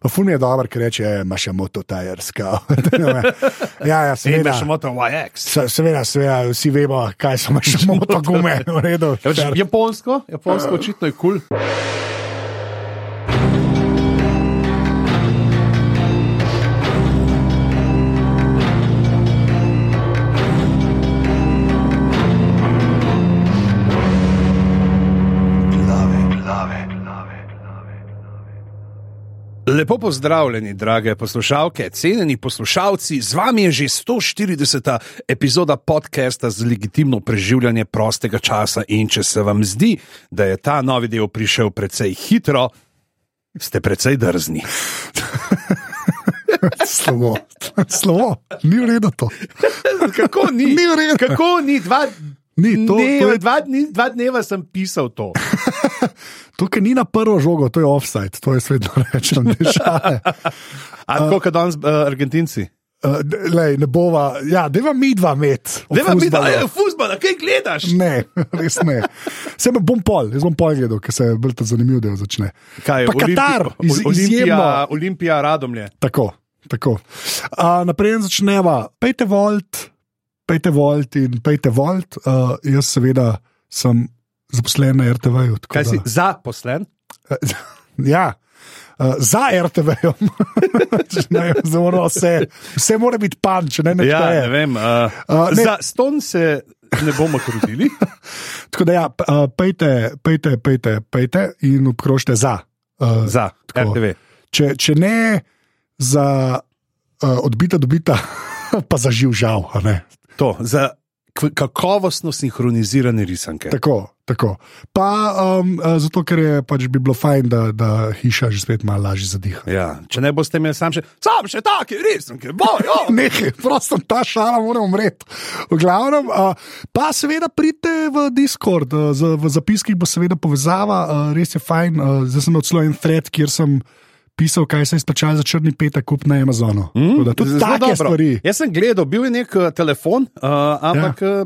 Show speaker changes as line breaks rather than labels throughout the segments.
Pa ful mi je dobro, ker reče, e, imaš še moto tajerska. ja, ja,
Seveda,
seveda.
še moto YX.
Se- Seveda, seveda, vsi vemo, kaj so imaš moto gume, v redu.
Ja, veš, Japonsko, japonsko očitno je kul. Cool. Lepo pozdravljeni, drage poslušalke, cenjeni poslušalci. Z vami je že 140. epizoda podcasta za legitimno preživljanje prostega časa. In če se vam zdi, da je ta novi del prišel precej hitro, ste precej drzni.
Slovo, slovo, ni v redu to.
Kako ni?
Ni v redu.
Kako ni? Dva,
Ni, to- to
dneva,
je-
dva, dni, dva dneva sem pisal to.
To, kar ni na prvo žogo, to je offside, to je svetno rečeno.
A tako kot danes uh, Argentinci.
Eh, Lej, ne bova, ja, deva mi dva met. o
Ne vem,
fuzbalu.
kaj je fuzbol, kaj gledaš?
Ne, res ne. Se bom pol, jaz bom pol gledal, ker se je bolj ta zanimiv del začne.
Kaj je
Pa Katar, iz, izjemno.
Olimpija, Olimpija, Radomlje.
Tako, tako. A, naprej začneva, pejte volt, pejte volt in pejte volt. Uh, jaz seveda sem zaposlen na RTV-ju. tako
Kaj si
da-
zaposlen?
Ja. Uh, za RTV, zelo vse, vse mora biti pan, če ne ne
Ja, ne
šteje.
vem. Uh,
Pač A,
uh,
ne.
ne. Za ston se ne bomo trudili.
Tako da, ja, p- uh, pejte, pejte, pejte, pejte in obkrožite za. Uh,
Za
Tako.
RTV.
Če, če ne za uh, odbita, dobita, pa za živ žal. a ne.
To, za kv- kakovostno sinhronizirane risanke.
Tako, tako. Pa um, uh, zato, ker je pač bi bilo fajn, da, da hiša že spet malo lažje zadiha.
Ja, če ne boste imeli sam še, sam še take risanke, bojo.
Nehaj, prosto ta šala, moram umreti. V glavnem, uh, pa seveda pridite v Discord, uh, za, v zapiskih bo seveda povezava, uh, res je fajn. Uh, zdaj sem odslal en thread, kjer sem pisal, kaj se je izplačalo za črni petek, kup na Amazonu. Tako da Tudi
Mm? Zelo
take
dobro.
stvari.
Jaz sem gledal, bil je nek uh, telefon, uh, ampak. Ja.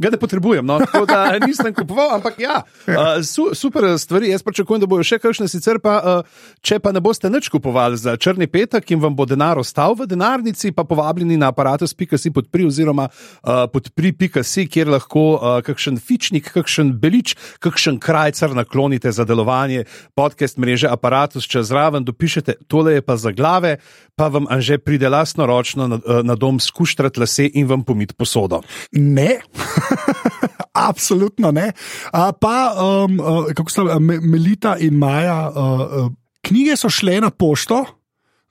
Ga ne potrebujem, no, tako da nisem kupoval, ampak ja, uh, su, super stvari. Jaz pričakujem, da bojo še kakšne, sicer pa, uh, če pa ne boste nič kupovali za črni petek in vam bo denar ostal v denarnici, pa povabljeni na aparatus.si podpri oziroma uh, podpri.si, kjer lahko uh, kakšen fičnik, kakšen belič, kakšen krajcar naklonite za delovanje podcast mreže aparatus, če zraven dopišete, tole je pa za glave, pa vam anže pride lastnoročno na, eh, na dom skuštrat lase in vam pomit posodo.
Ne, absolutno ne. A, pa, um, uh, kako sta Me- Melita in Maja, uh, uh, knjige so šle na pošto,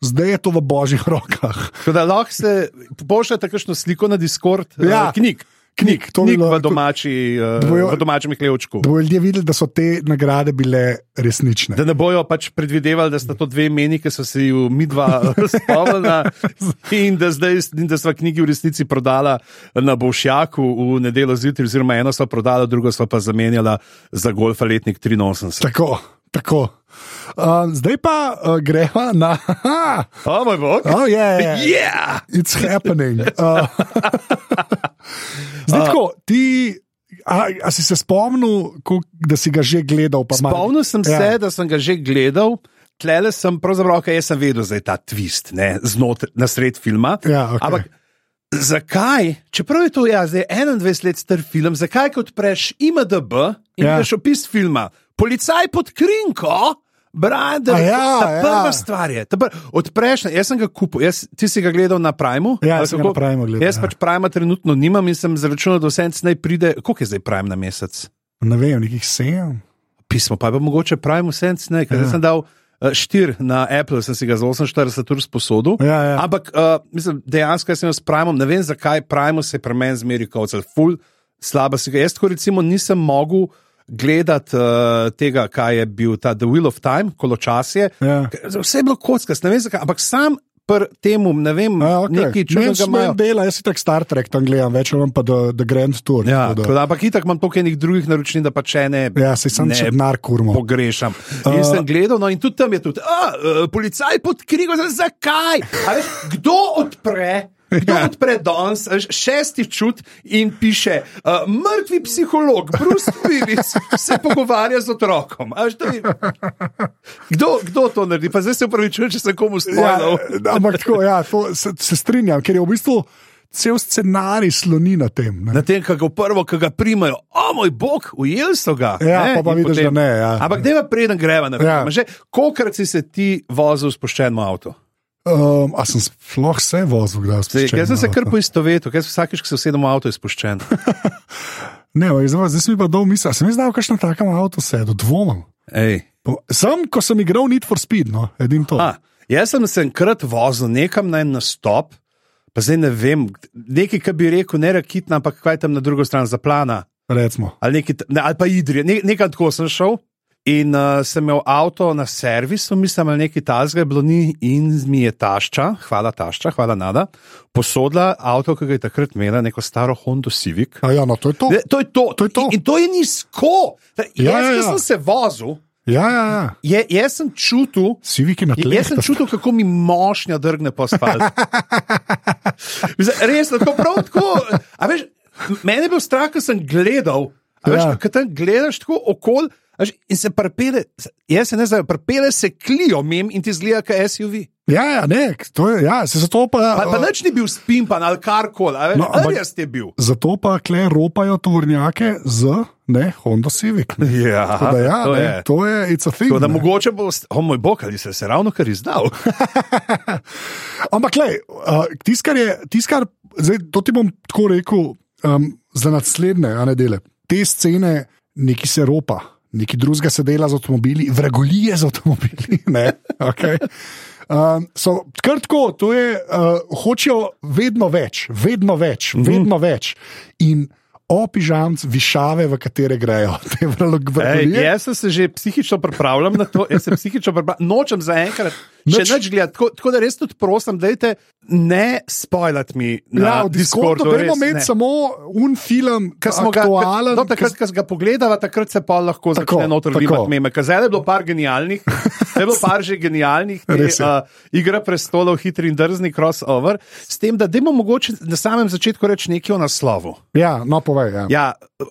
zdaj je to v božjih rokah.
Tako da lahko se pošljete kakšno sliko na Discord,
Ja.
ja. knjig. Knjig,
to
to
bi
je
bilo-
v, domači, eh,
Dvojo-
v domačem klevčku.
Da bodo ljudje videli, da so te nagrade bile resnične.
Da ne bojo pač predvidevali, da sta to dve imeni, ki so se ju mi dva eh, spomnila, in da zdaj in da sva knjigi v resnici prodala na Bovšjaku v nedeljo zjutraj, oziroma eno sva prodala, drugo sva pa zamenjala za golfa letnik 83.
Tako, tako. Uh, zdaj pa uh, greva na.
O moj bog!
Oh, yeah.
Yeah!
It's happening. Uh, Zdaj, tako, ti, a, a si se spomnil, ko, da si ga že gledal? pa malo-
Spomnil sem se, ja. da sem ga že gledal. Tlele sem pravzaprav, kaj jaz sem vedel, da je ta twist ne, znot, na sred filma.
Ja, okej.
Ampak zakaj, čeprav je to ja, zdaj 21 let star film, zakaj kot preš IMDB in
Ja.
ja. daš opis filma? Policaj pod krinko. Brander,
A ja,
ta prva
ja.
stvar je. ta Pr od prejšnje, jaz sem ga kupil, jaz, ti si ga gledal na Primu.
Ja,
ali
jaz sem ga
kako?
na Primu gledal,
Jaz
ja.
pač Prima trenutno nimam in sem zračunal, da vse en snaj pride. Koliko je zdaj Prime na mesec?
Ne vem, nekih sedem.
pismo, pa je pa mogoče Prime Sense, ne, ker
Ja.
ja. sem dal. eh, Štiri na Apple, sem si ga za 48 ur sposodil.
Ja, ja.
Ampak uh, mislim, dejansko jaz sem imel s Primom, ne vem zakaj, Primo se je pri meni zmeri kot zelo ful, slaba si ga. Jaz tako recimo nisem mogel gledati uh, tega, kaj je bil ta The Wheel of Time, koločasje.
Ja.
Ker Vse je bilo kockast, ne vem zakaj, ampak sam pri temu, ne vem,
Ja,
okay.
okay.
nekaj
Ne,
čudnega imajo.
ne dela, jaz si tako Star Trek tam gledam, več imam pa The, the Grand Tour.
Ja,
tako
tako da, ampak itak imam toliko enih drugih naročnin, da pa če ne.
da, ja se sam
ne
še denar kurmo.
pogrešam. In
Uh,
uh, sem gledal, no in e, tudi tam je tudi, a, uh, policaj pod krigo, zdaj zakaj? A Veš, kdo odpre Kdo ja. odpre danes, šesti čut in piše, uh, mrtvi psiholog, Bruce Willis se pogovarja z otrokom. Až, je... kdo, kdo to naredi? Pa zdaj se upravičujem, če sem komu
Ja,
spomnil.
ampak tako, ja, to se, se strinjam, ker je v bistvu cel scenarij sloni na tem. Ne?
Na tem, kako prvo, ki ga primajo, o moj bog, ujeli so ga.
Ja, pa pa
in
vidiš, da ne, ja.
Ampak deva preden greva na
Ja.
ja. film. Že kolikrat si se ti vozil spuščeno avto?
Um, a sem sploh se vozil, da
Zdaj,
sem
jaz sem se kar poistovetil, ker sem vsakeč, ko se usedem v avto, izpuščen.
Ne, ampak zdaj, zdaj si mi pa dol misel, a sem jaz dal kakšno takem avto sedu, dvomim.
Ej.
Po- Sem, ko sem igral Need for Speed, no, edin to.
A, jaz sem se enkrat vozil nekam na en nastop, pa zdaj ne vem, nekaj, kar bi rekel, ne rakitna, ampak kaj tam na drugo stran za plana.
Recimo.
ali, neki, t- ne, ali pa Idrija, ne, nekaj tako sem šel. In uh, sem imel avto na servisu, mislim, ali nekaj tazga je bilo ni, in mi je tašča, hvala tašča, hvala nada, posodila avto, ki ga je takrat imela, neko staro Honda Civic.
A ja, no, to je to.
Ne, to je to,
To je to.
In, in to je nizko. Da,
Ja, ja,
ja, jaz, ja,
ja.
ja. sem se vozil,
Ja, ja, ja.
je, jaz sem čutil,
Siviki na tleh.
Ja, Jaz sem čutil, kako mi mošnja drgne po spalju. Res, tako prav tako. a Veš, mene je bil strah, ker sem gledal. a Veš,
Ja.
ja. Ker tam gledaš tako okol a veš, in se prepele, jaz se ne znam, prepele se klijo mem in ti zgleda, kot SUV.
Ja, ja, ne, to je, ja, se zato pa.
Pa, pa
eh,
nič ni bil spimpan ali kar koli, a veš,
No, ampak-
Oh. no, res je bil.
Zato pa kle ropajo tovornjake z ne, Honda Civic. Ne. Tako
Ja,
Da, ja,
to
to, ne,
je.
je. to je, it's a thing.
Tako da
ne.
mogoče bo, o oh, moj bog, ali se je ravno kar izdal.
Ampak, glej, uh, tiskar je, tiskar, zdaj, to ti bom tako rekel um, za naslednje, a ne dele. Te scene, neki se ropa, neki drugega se dela z avtomobili, vragolije z avtomobili. Ne, okay. um, so, kar tako, to je, uh, hočejo vedno več, vedno več,
Mhm.
mm -hmm. vedno več. In opižamc, višave, v katere grejo te vrag-
Ej,
vragolije.
jaz sem se že psihično pripravljam na to, jaz se psihično pripravljam, nočem zaenkrat še
Nič.
nič gledati. Tako, tako da res tudi prosim, dajte ne spoilati mi na
Ja, v Discordu
Discordu,
gremo
res ne.
imeti samo un film, ki
Ko smo
smo
ga
aktualen.
no, takrat, ko ga pogledava, takrat se pa lahko
Tako,
začne noter
tako.
limati meme. Ker Zdaj je bilo par genialnih, zdaj je bilo par že genialnih, te,
Res je.
uh, igra prestolov, hitri in drzni crossover, s tem, da demo mogoče na samem začetku reči nekaj o naslovu.
Ja, no, povej. Ja.
Ja,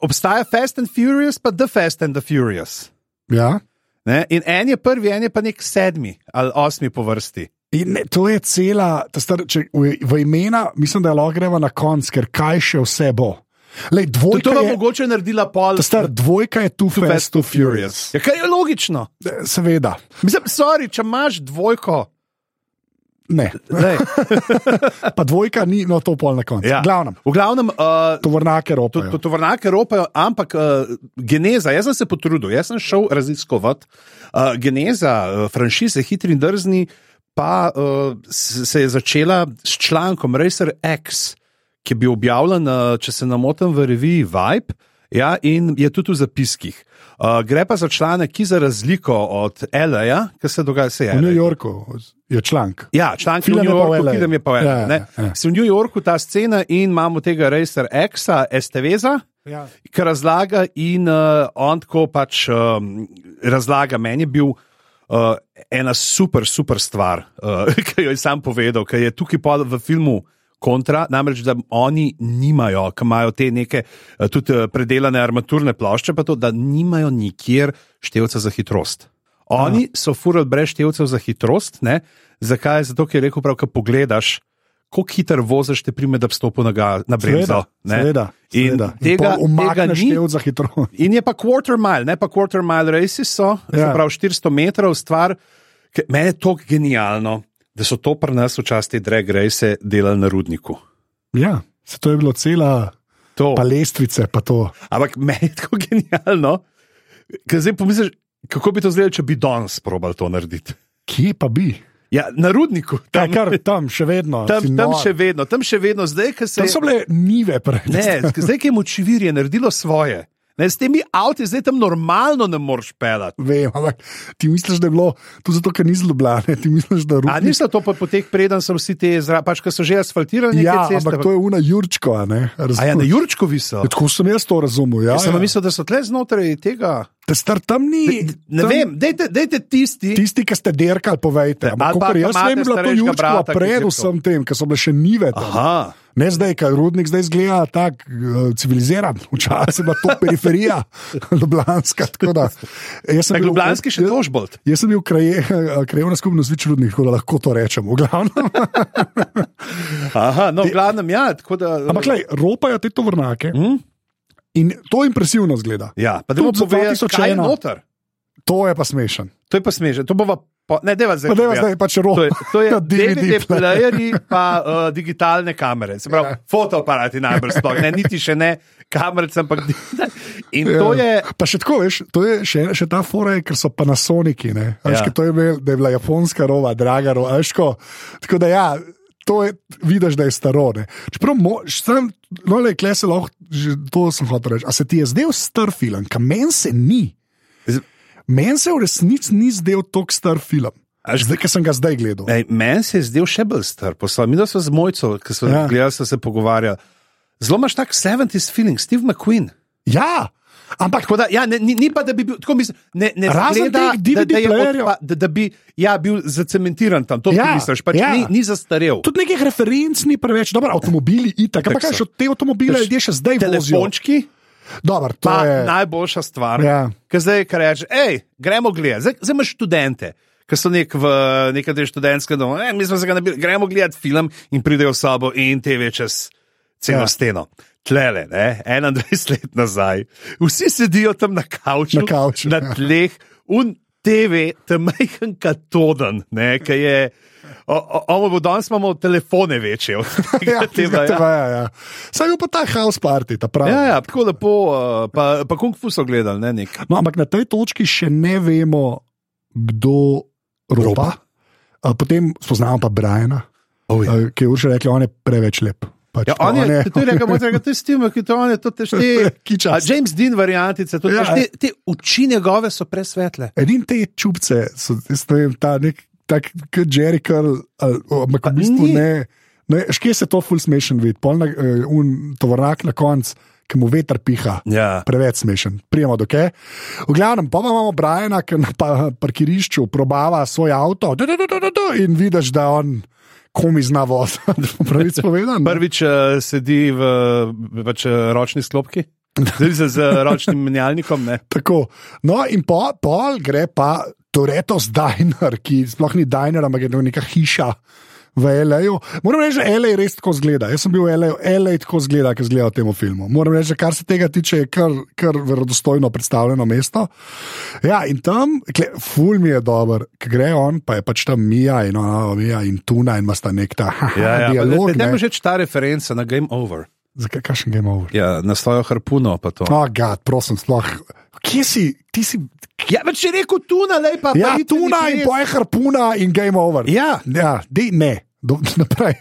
obstaja Fast and Furious, pa The Fast and the Furious.
Ja.
Ne? In en je prvi, en je pa nek sedmi ali osmi po vrsti.
In ne, to je cela, ta star, če, v, v imena, mislim, da je lahko greva na konec, ker kaj še vse bo. Lej,
To, to
dvojka,
bo
je,
mogoče naredila pol
ta star, dvojka je tu, fast, too furious.
Ja, kar je logično.
Eh, Seveda,
Mislim, sorry, če imaš dvojko.
ne.
Lej,
Pa dvojka ni, no to pol na koncu. Ja. Glavno,
V glavnem, uh,
tovornjake rope.
to, to tovornjake ropajo, ampak uh, geneza, jaz sem se potrudil, jaz sem šel raziskovati uh, geneza uh, franšize Hitri in drzni, pa uh, se se je začela s člankom Racer X, ki je bil objavljen, uh, če se ne motim, v reviji Vibe. Ja, in je tudi v zapiskih. Uh, gre pa za članek, ki za razliko od L.A., ki se dogaja, se
V
je. LA.
New Yorku je članek.
Ja, članek
Film je
Film New
pa v
Yorku,
LA.
ki nam je pa vedel.
Ja,
Ja,
ja, ja.
ja. V New Yorku ta scena in imamo tega Racer X-a, STV-za,
Ja.
ki razlaga in uh, on tako pač um, razlaga. Meni je bil uh, ena super, super stvar, uh, ki jo je sam povedal, ki je tukaj pol v filmu. Kontra, namreč, da oni nimajo, ki imajo te neke eh, tudi eh, predelane armaturne plošče, pa to, da nimajo nikjer števca za hitrost. Oni Aha. so furali brez števcev za hitrost. Ne? Zakaj? Zato, ker je rekel, prav, ko pogledaš, koliko hitro voziš, te prime, da bi stopil na, ga, na
Seveda,
bremzo. ne.
seveda,
In
seveda. In
tega,
pol
tega
umakneš
ni.
del za hitro.
In je pa quarter mile, ne pa quarter mile races so,
Ja.
ja. prav 400 metrov stvar. ki- Meni je to genialno, da so to pri nas včasih te drag race delali na rudniku.
Ja, se to je bilo cela,
To.
pa lestvice, pa to.
Ampak meni je tako genialno, ker zdaj pomisliš, kako bi to izgledalo, če bi danes probal to narediti.
Kje pa bi?
Ja, na rudniku,
Tam,
tam,
kar, tam še vedno. si
tam, tam
nor.
še vedno, tam še vedno, zdaj, ker se
Tam so bile nive prej.
Ne, zdaj, ki je močivirje naredilo svoje. Ne, s temi avti zdaj tam normalno ne moreš pelati.
Vem, ampak ti misliš, da je bilo to zato, ker ni zelo blane, ti misliš, da
A
rudi.
niso to pa potek, preden so vsi ti zraven, pač ko so že asfaltirani,
Ja,
ceste,
ampak to je una Jurčko, a ne?
A ja, na
Razumem.
Jurčkovi so.
Tako sem jaz to razumel. Ja,
Jaz sem
ja.
pa mislil, da so tle znotraj tega.
Da star tam ni.
Ne
tam-
vem, dejte, dejte tisti.
Tisti, ki ste derkali, povejte.
ali
Ampak,
pa,
kakor
ko
jaz
imate
vem, je bila to
starejšega
Jurčko
brata, ki je Ah.
pred
to.
vsem tem, ker so bile še nive. tam.
Aha.
Ne zdaj, kaj rudnik zdaj zgleda tako eh, civiliziran, včasih je bila to periferija, ljubljanska. tako da. Jaz sem
Tak
bil-
ljubljanski še dožbolt.
Jaz sem bil kraje, krajevna skupnost več rudnih, tako da lahko to rečem. v glavnem.
Aha, no, v glavnem, ja, tako da.
Ampak, glej, ropajo te tovornake
Hm?
in to impresivno zgleda.
Ja, pa da bomo
Tudi za
povedali,
2001.
kaj je noter.
To je pa smešen.
To je pa smešno. To bova, po... ne, deva zdaj.
Pa dajva
povedati.
zdaj pač
Ja. To je,
ropa.
to je
na
DVD,
DVD player.
playerji, pa uh, digitalne kamere, se pravi, ja. fotoaparati najbrž sploh, ne, niti še ne kamerice, ampak. In to je,
Pa še tako, veš, to je še, še ta fora, je, ker so Panasoniki. Ne? A Veš,
Ja.
ja. to je bil, da je bila japonska rova, draga rova. a Veš, ko, tako da ja, to je, vidiš, da je staro. Ne? Čeprav, mo, sam, no, le klese lahko, že to sem hotel reči. A se ti je zdel star film, kam meni se ni.
Z-
Meni se v resnici ni zdel tako star film. Zdaj, ki sem ga zdaj gledal.
Ej, meni se je zdel še bolj star, poslal mi da so z mojco, ki so ja.
Ja.
gledali, so se pogovarjali. Zelo imaš tak 70s feeling, Steve McQueen.
Ja, ampak
Tako da, ja, ne, ni, ni pa, da bi bil, tako mislim, ne, ne
Razen
zgleda,
teh DVD
da, da, je
playerjev.
odpa, da, da bi ja, bil zacementiran tam, to ja,
Ja,
misliš, pač
ja.
ja. ni, ni zastarel.
tudi nekih referenc ni preveč, dobro, avtomobili itak. Ampak
Tako
kaj
so.
še od te avtomobile ljudje še zdaj vozijo?
Telefončki,
Dobro, to
pa
je.
je... najboljša stvar.
Ja.
Ker zdaj, kar reče, hej, gremo gledati, zdaj, zdaj imaš študente. Ki so nek v neki te študentske domu, e, mi smo se ga nabili, gremo gledati film in pridejo v sabo in TV čez
Ja.
celo ja. steno. Tlele, ne, 21 let nazaj. Vsi sedijo tam na
Na
kavču,
kavču,
na
ja.
tleh, un TV, tam majhen katoden, ne, ki je. O, o, o, danes imamo telefone večje od tega,
Ja,
tega, ja.
ja. Ja. Saj je bil pa ta house party, ta pravi.
Ja, ja, tako lepo, uh, pa, pa kung fu so gledali, ne nek.
No, ampak na tej točki še ne vemo, kdo ropa. A, Potem spoznamo pa Briana,
Oh,
a, ki je urša rekla, on je preveč lep. Pač,
Ja, on
on
je tudi rekel, moj dragi, to je Steve, ki to on je, to te šte. A
kičast.
James Dean variantice, to
Ja,
ja, te, te oči njegove so presvetle.
Edin te čupce, so, jaz ne vem, ta nek, tak, kot Jerry Curl, ali- ampak
Pa
v bistvu
ni.
ne. ne škje se to ful smešen vidi, poln uh, tovornjak na koncu, ki mu veter piha.
Ja.
Preveč smešen, prijemo do kaj. V glavnem, pa imamo Briana, ki na pa- parkirišču probava svoj avto du, du, du, du, du, du, in vidiš, da on komi zna voziti. Pravic povedano. ne?
Prvič uh, sedi v eh, pač, eh, ročni sklopki, zdaj se z eh, ročnim menjalnikom. Ne.
Tako. No, in po, pol gre pa Toretos Diner, ki sploh ni diner, ampak je to neka hiša. V L.A.U. Moram reči, da L.A. res tako zgleda. Jaz sem bil v L.A. L.A. tako zgleda, ki zgleda v tem filmu. Moram reči, da kar se tega tiče, je kar, kar verodostojno predstavljeno mesto. Ja, in tam, kle, ful mi je dober, ki gre on, pa je pač tam Mija in, ona, Mija in Tuna in ima sta nek ta
Ja, ja,
dialog.
Ne moreš
Ne,
reči ta referenca na Game Over,
Zakaj kakšen game over?
ja, na svojo harpuno. pa to.
Oh, gad, prosim, sploh. Kje si, ti si,
Ja, več je rekel tuna, lej pa
Ja,
pa niti
tuna
ni
in
res.
poje harpuna in game over.
Ja,
ja di, ne. Do, naprej.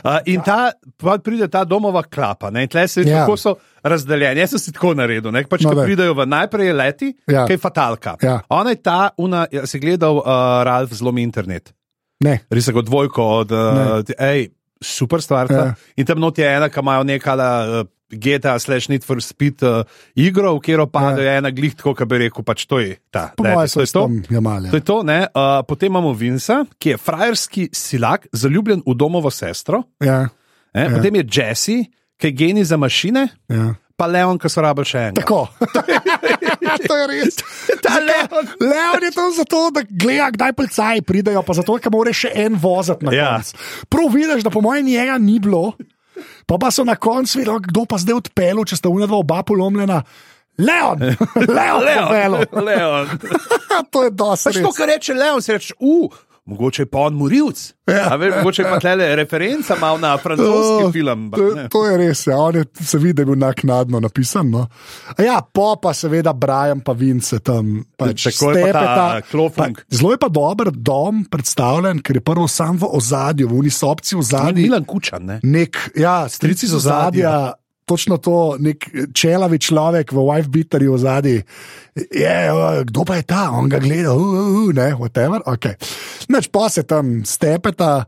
Uh, in ta, pa pride ta domova klapa, ne, in tle se vidi,
Ja.
kako so razdeljeni. Jaz sem si tako naredil, ne,
No,
pač, no, ko
daj.
pridejo v najprej je leti,
Ja.
ja. ki je fatalka.
Ja.
Ona je ta, una, ja, si gledal uh, Ralf zlomi internet,
Ne.
res kot dvojko od, uh, ti- ej, super stvar. Ja.
Ja.
In tam not je ena, ki imajo nekala. Uh, Geta, slash, need for speed uh, igro, v katero pade ja. ena glih, tako kot bi rekel, pač to je ta.
Po
leti,
mojem
to
so ja.
je to.
tam jamali.
To je to, ne. Uh, potem imamo Vinsa, ki je frajerski silak, zaljubljen v domovo sestro.
Ja,
E, ja. Potem je Jesse, ki je genij za mašine,
ja.
pa Leon, ki so rabili še enega.
Tako. to je res.
Ta Leon.
Leon je tam zato, da gleda, kdaj policaji pridejo, pa zato, ker mora še en voziti na
Ja.
koncu. Prav vidiš, da po mojem njega ni bilo, pa pa so na koncu videli, "Oh, kdo pa zdaj odpelo, če sta unadva oba polomljena. Leon, Leon, Leon.
Leon.
to je dosti.
Pač to,
res.
kar reče Leon, si reče, u. Mogoče je pa on morilc. Ja. Veš, mogoče je pa tele referenca malo na francoski
Oh,
film. ampak
To,
ne.
to je res, ja. on je, se vidi, da je bil naknadno napisan. No. A Ja, po pa seveda Brian pa Vince tam. Pač
Tako je pa ta,
stepeta.
klofung.
Pa Zelo je pa dober dom predstavljen, ker je prvo sam v ozadju, v unisopci v
Ni
zadnji.
Milan Kučan, ne?
Nek, ja, strici z ozadja. točno to, nek čelavi človek v wife beaterju v zadnji. Je, uh, kdo pa je ta, on ga gleda, uh, uh, uh, ne, whatever. Okay. Nač pa se tam stepeta.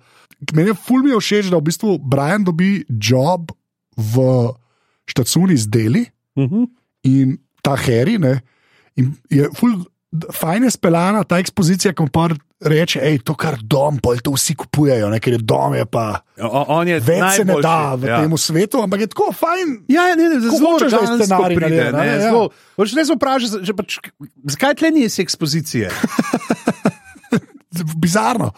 Meni je ful mi je všeč, da v bistvu Brian dobi job v štacuni z deli
Uh -huh.
in ta heri. Ne, in je ful, fajn je speljana ta ekspozicija, ko pa reče, hej, to kar dom, pol to vsi kupujejo, ne, ker je dom je pa.
On je
Več se ne
najboljši,
da v
ja.
ja. tem svetu, ampak je tako fajn.
Ja, ne, ne, zelo
hočeš, da je
organsko
scenarij
pride,
narejen, a
ne,
ne, ja.
zelo- Hočeš le vprašati, že pač, zakaj tle ni iz ekspozicije?
bizarno.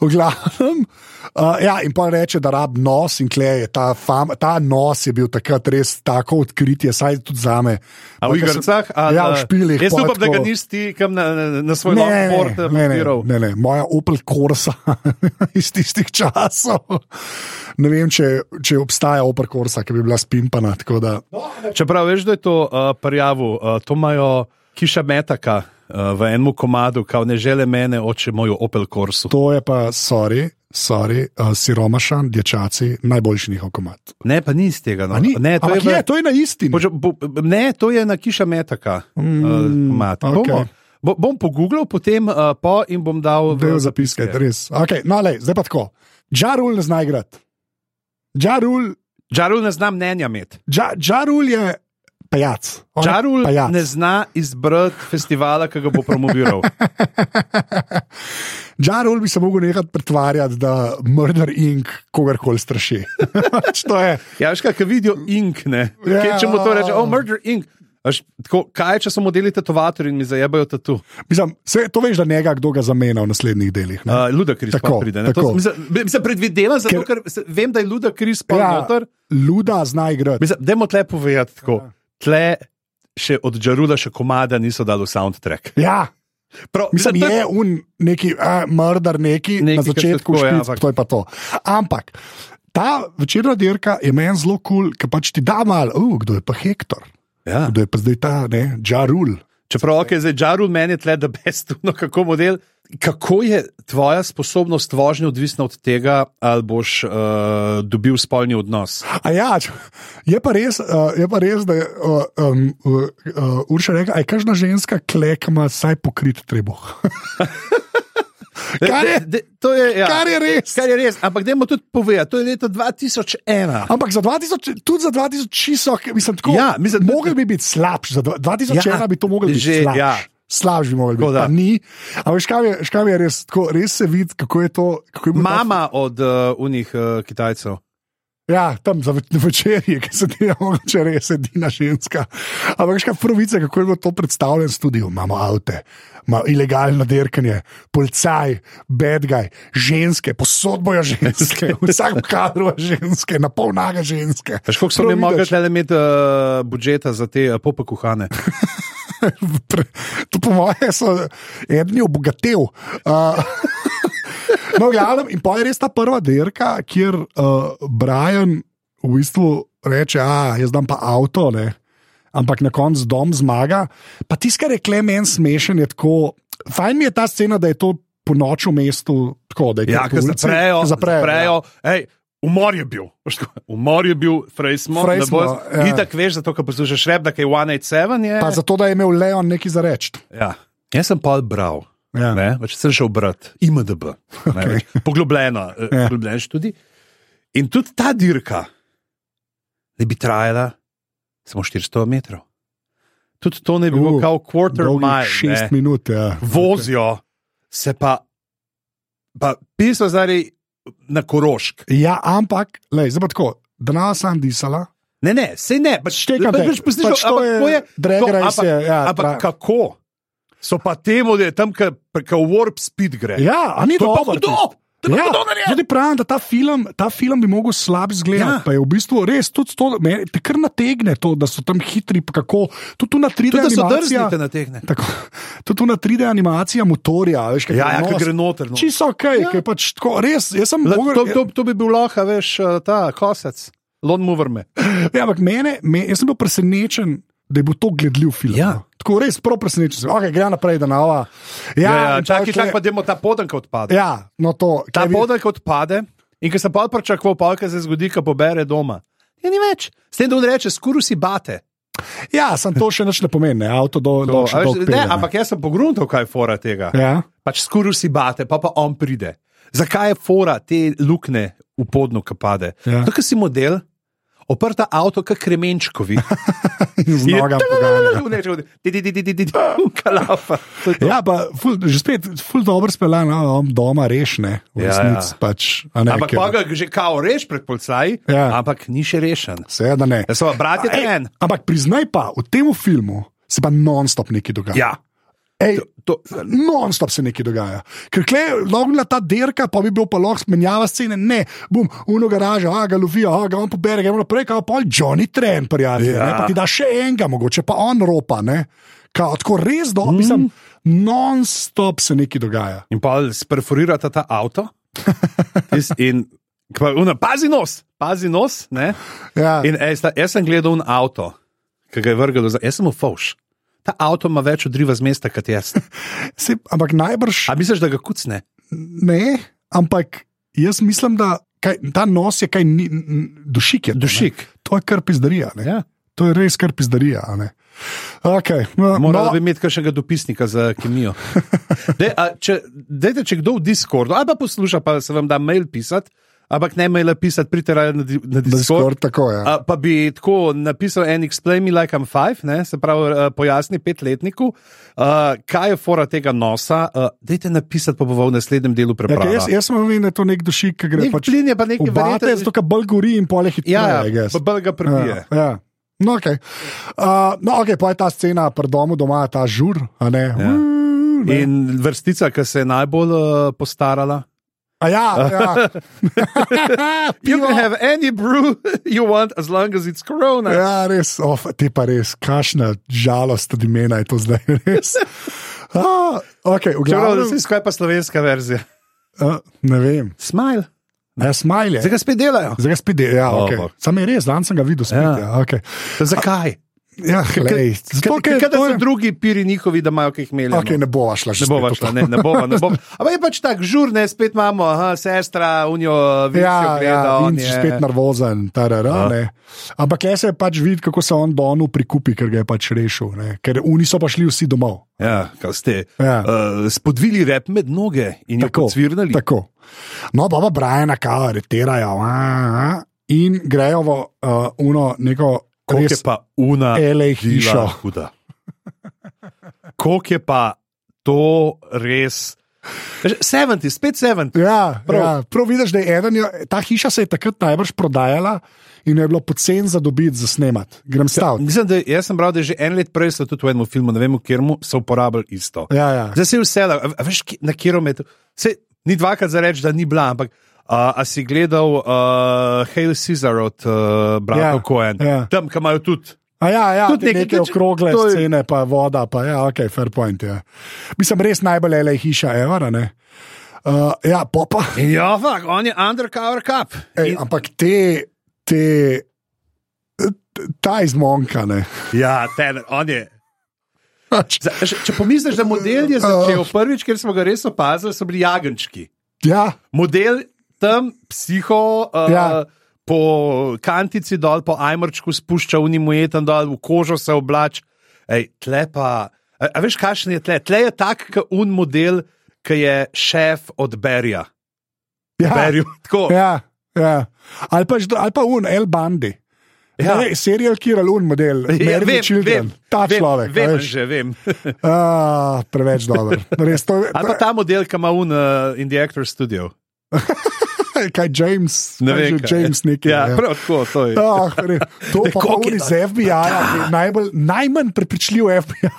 V glavnem. Uh, ja, in pa reče, da rab nos in kle je ta, fam, ta nos je bil takrat res tako odkritje, saj tudi za me.
A v igrah?
Ja, v špilih.
Jaz
pol
upam, da
tako-
ga nisi ti kam na, na, na svoj
Ne,
longboard eh,
ne, ne,
montiral.
ne, ne, moja Opel Corsa iz tistih časov. Ne vem, če, če obstaja Opel Corsa, ki bi bila spimpana. tako Da,
Čeprav veš, da je to uh, prijavil, uh, to imajo kiša metaka uh, v enem komadu, kao ne žele mene, oče moj v Opel Corsu.
to je pa, sorry, sorry uh, siromašan, dječaci, najboljši njihov komat.
Ne, pa ni iz tega. No.
A Ni,
ne, to je,
je,
v-
je, to je na isti.
Poča, bo, ne, to je na kiša metaka.
Mm,
Mm, uh,
okej.
okay. Bo, bom pogooglal potem uh, po in bom dal v
Del zapiske, res. Okay, no, lej, zdaj pa tako. Žarul ne zna igrati. Žarul,
Žarul ne zna mnenja imeti.
žarul Ja, je pajac. On je
Žarul
pajac.
ne zna izbrati festivala, ki ga bo promoviral.
Žarul bi se mogel nehati pretvarjati, da Murder Inc. kogarkoli straši. Pač to je.
Ja, veš, kaj vidijo ink, ne.
Ja.
Kaj, če mu to reče, oh, murder ink. Až, tako, kaj, če so modeli tetovatorji in mi zajebajo tatu?
Mislim, se, to veš, da njega kdo ga zamenja v naslednjih delih. ne?
Uh, Luda Kris pa
Tako,
pride. Ne?
tako.
To, mislim, mislim, predvidevam, zato, ker, ker vem, da je Luda Kris pa ja. noter.
Luda zna igrati.
Mislim, dajmo tle povedati tako.
Ja.
Tle še od Džarula še komada niso dali v soundtrack.
Ja,
Prav,
Mislim,
to
je un neki a, mrdar, neki, neki
Nekaj,
na
kar se
začetku,
tako, ja,
špic,
ampak-
to je pa to. Ampak ta večerna dirka je meni zelo kul, cool, ker pač ti da mal, uh, kdo je pa Hektor,
Ja.
kdo je pa zdaj ta, ne, Ja Džarul.
Čeprav okay, zdaj Džarul meni je tle, da bestno kako model. Kako je tvoja sposobnost vožnje odvisna od tega, ali boš uh, dobil spolni odnos?
A ja, č- je pa res, uh, je pa res da je uh, um, uh, uh, Urša rekla, da je kažna ženska klekma, saj pokrit treba. Kar je-
de, de, to je, ja.
Kar je res.
Kar je res, ampak dajmo tudi povedati, to je leto 2001.
Ampak za 2000, tudi za 2000 so, mislim, tako.
Ja, mislim, da-
mogel bi biti slabši, za dva- 2001
Ja,
ja, bi to mogel biti
že,
že. Slabš.
ja.
Ja. Slabš bi mogel biti,
Tako da.
pa ni. Ampak škam je res, tako, res se vidi, kako je to. Kako je bil ta-
Mama od uh, unih uh, Kitajcev.
Ja, tam za več- na večerji, ki se ti je mogoče res edina ženska. Ampak veš, kaj pravice, kako je bilo to predstavljeno v studiu. Imamo avte, imamo ilegalno dirkanje, policaj, bad guy, ženske, posod bojo ženske, vsak kadro ženske, na pol naga ženske.
Veš, koliko so mi
Prav
mogli
vidiš.
tle imeti uh, budžeta za te uh, pope kuhane?
Pre, to, po mojem, so edni obogatev. Uh, no, glavnem, in pa je res ta prva dirka, kjer uh, Brian v bistvu reče: A, jaz dam pa avto, ne? ampak na koncu dom zmaga. Pa tisto, kar je klemen smešen, je tako. Fajn mi je ta scena, da je to po noči v mestu, tako da je
Ja,
kar po
ki
ulici-
zaprejo,
zaprejo,
zaprejo. zaprejo ja. Ej, Umor je bil, Veš, tako, umor je bil, fraj smo,
Frej
ne
smo,
boš.
ja.
Ni tako veš, zato ker poslušaš rep, da je 187. Je.
Ja. Pa zato, da je imel Leon nekaj za reči.
Ja. Jaz sem pa bral.
Ja.
Ne, pač sem šel brati IMDB, okay. poglobljeno, eh,
Ja.
poglobljen študij. In tudi ta dirka ne bi trajala samo 400 metrov. Tudi to ne bi bilo
Uh,
kao quarter
Dolgih
mile.
Šest
ne.
minut. Ja.
Vozijo se pa, pa pisal zdaj na Korošk.
Ja, ampak, lej, zdaj pa tako, da nas sam disala.
Ne, ne, sej ne, pač
Štekam te.
pač poslušal,
Pač to
ampak
je
to je-
drag
to-
race
ampak-
je, ja,
Ampak
tra-
kako? So pa temu, da je tam, kjer warp speed gre.
Ja, a ni
To je pa
dobro.
hudo! To je pa
Ja,
hudo narejeno!
tudi pravim, da ta film, ta film bi lahko slab izgledal.
Ja.
Ja. Pa je v bistvu res, tudi to, me, te kar nategne to, da so tam hitri, pa kako, tudi tu na 3D
Tudi da so
animacija.
drznite na tehne.
Tako, tudi tu na 3D animacija motorja, veš, kaj
Ja, ja, ki gre noter. No.
Čisto ok,
Ja.
ja. kaj pač tako, res, jaz sem
Le,
mogel-
to, to, to bi bil lahko, veš, eh, ta kosec, lon mu vrme.
Ja, ampak mene, me, jaz sem bil presenečen, da je bil to gledljiv film.
Ja.
no. Tako res, prav presenečen sem. Ok, gre naprej, da nava. Ja,
Ja, ja,
in
čakaj,
pol
čakaj, pa
tule-
dajmo ta podank odpade. Ja,
Ja, no to.
ta
tule-
podank odpade in ker sem pa pričakoval, pa kaj se zgodi, ko pobere doma. Ja, ni več. S tem, da on reče, skoro si bate.
Ja, sem to še nič ne pomeni, ne? avto do, do,
a veš,
do
ne, ampak jaz sem pogruntal, kaj je fora tega.
Ja.
Pač skoro si bate, pa pa on pride. Zakaj je fora te luknje v podnu, ki pade?
Ja.
Tako si model, oprta avto, kot kremenčkovi.
Z nogam pogajanja.
Kalapa.
Ja, pa ful, že spet, ful dobro speljan, no, on doma rešne, v
Ja,
resnici
ja.
pač. a Ne,
Ampak
ker-
pa ga že kao reš pred policaj,
Ja.
ampak ni še rešen.
Seveda ne.
Ja, so bratje
Ej,
en.
Ampak priznaj pa, v tem filmu se pa non-stop nekaj dogaja.
Ja.
Ej,
To,
Non-stop se nekaj dogaja. Ker kle je logla ta derka, pa bi bil pa lahko menjava scene, ne, bom, uno garaža, a ga lovijo, a ga on pobere, gremo naprej, kao pa Johnny Tren, prijatelj,
Ja.
ja. pa ti da še enega, mogoče pa on ropa, ne. Kao, tako res do, mm. mislim, non-stop se nekaj dogaja.
in pa sperforirata ta avto. Tis- In, kva- una, pazi nos, pazi nos. Ne?
Ja,
In ej, sta, jaz sem gledal un avto, ki ga je vrgel, za- jaz sem v fauš. Ta avto ima več odriva z mesta kot jaz.
se, ampak najbrž
A misliš, da ga kucne?
ne, ampak jaz mislim, da kaj, ta nos je kaj ni, n- dušik. Je, to, ne.
Dušik.
To je kar pizdarija. ne.
Ja.
To je res kar pizdarija. a ne. Okay, no, no,
Morali no. bi imeti kakšnega dopisnika za kemijo. Dej, a, če, dejte, če kdo v Discordu, ali pa posluša, pa se vam da mail pisati, ampak ne mail pisati, pridite raje na, di-
Da
na
je
Discord.
skoraj tako. Ja.
A, pa bi tako napisal en explain me like I'm five, ne, se pravi, eh, pojasni petletniku, uh, kaj je fora tega nosa. Uh, dejte napisati, pa bo v naslednjem
Ja,
delu
ker
prebral.
jaz, jaz sem omenil, da je to nek dušik, ki gre pač
Nek plin je pa
v
nekaj
bate,
verjetno-
zato ker bolj gori in pole hitreje.
ja,
No, I
ja,
guess.
pa bolj ga prebije.
ja, ja. No, okay. Uh, no, okay, pa je ta scena pred domu, doma ta žur. a Ne, ja.
Ja. In vrstica, ki se je najbolj uh, postarala.
A ja, ja.
You
Pivo.
can have any brew you want, as long as it's corona.
ja, res, of, ti pa res, kašna žalost od imena je to zdaj res. Ah, okay, v
Čeprav
glavnem,
vsi skupaj pa slovenska verzija.
uh, ne vem,
Smile.
a jaz smajlje.
Zdaj ga spet delajo.
Zdaj ga spet, de- ja, okay.
Dobro.
sam je res, danes sem ga videl. Spet,
Ja.
ja. Ja, okay.
Zakaj?
ja, glej, zato, ker je
Kaj da
to-
so drugi piri njihovi, da imajo kaj jih imeli.
Okay, ne bova šla že.
no. Ne bova
spet v to.
šla, ne, ne bova, ne bova. Ampak je pač tako žurne, spet imamo, aha, sestra, unijo, vidijo,
Ja,
gleda,
ja,
on
in
je
si spet nervozen, tarara, ne. ampak le se je pač videl, kako se on donu prikupi, ker ga je pač rešil, ne. ker oni so pa šli vsi domov.
Ja, kaj ste.
Ja.
Uh, spodvili rep med noge in jo
Tako,
pocvirnali.
Tako. No, baba Brajana, kao, areterajo a, a, in grejo v uh, uno neko
Koliko je
res
pa una
LA
bila
hišo.
huda. Koliko je pa to res. Veš, 70, spet 70.
Ja, prav.
Prav.
Ja, prav vidiš, da je eden, jo- ta hiša se je takrat najbrž prodajala in jo je bilo pocen za dobiti, za snemati.
Ja,
Grem staviti.
Mislim, da jaz sem bral, da je že en let prej so tudi v enem filmu, ne vem, v katerem so uporabljali isto.
Ja, ja.
Zdaj si vse, a, a veš, ki- na kilometru. Saj ni dvakrat za reči, da ni bila, ampak a, a si gledal uh, Hail Caesar od uh, Brata
Ja,
Cohen,
ja.
tam, ki imajo tudi.
A ja, ja,
Tudi
te
nekaj,
neke
tudi-
okrogle
to je-
scene, pa voda, pa ja, ok, fair point. Ja. Mislim, res najbolj je le hiša, evra, ne. Uh, ja, popa.
In Ja, fak, on je undercover cup.
Ej,
In,
ampak te, te, ta izmonka, ne.
ja, ten, on je.
Pač,
Za- Če, če pomisliš, da model
Oh.
je začel prvič, ker smo ga res opazili, so bili jagenčki.
Ja,
Model tam, psiho, uh, ja.
Ja.
po kantici dol, po ajmrčku spušča, unimujetan dol, v kožo se oblač. Ej, tle pa. A, a veš, kakšen je tle? Tle je tak, kot un model, ki je šef od Berja.
ja,
Berju, tako. Ja.
ja, ja. Ali, pa, žd- ali pa un, El Bandi.
Ja.
Ja. Ne, serial killer, un model, ja, vem, children, vem, ta
vem,
človek.
Vem,
a
vem
veš.
že vem.
Ah, preveč dober. Res, to, je-
Ali pa ta model, ki ima un uh, in the actor studio.
kaj James,
Ne
kaj
vem.
že
kaj je.
James nekaj.
Ja, prav tako, to je.
Ah, res. to
Ne,
pa
koliko je
polni
to?
z FBI-ja, ja, najbolj, najmanj prepričljiv FBI.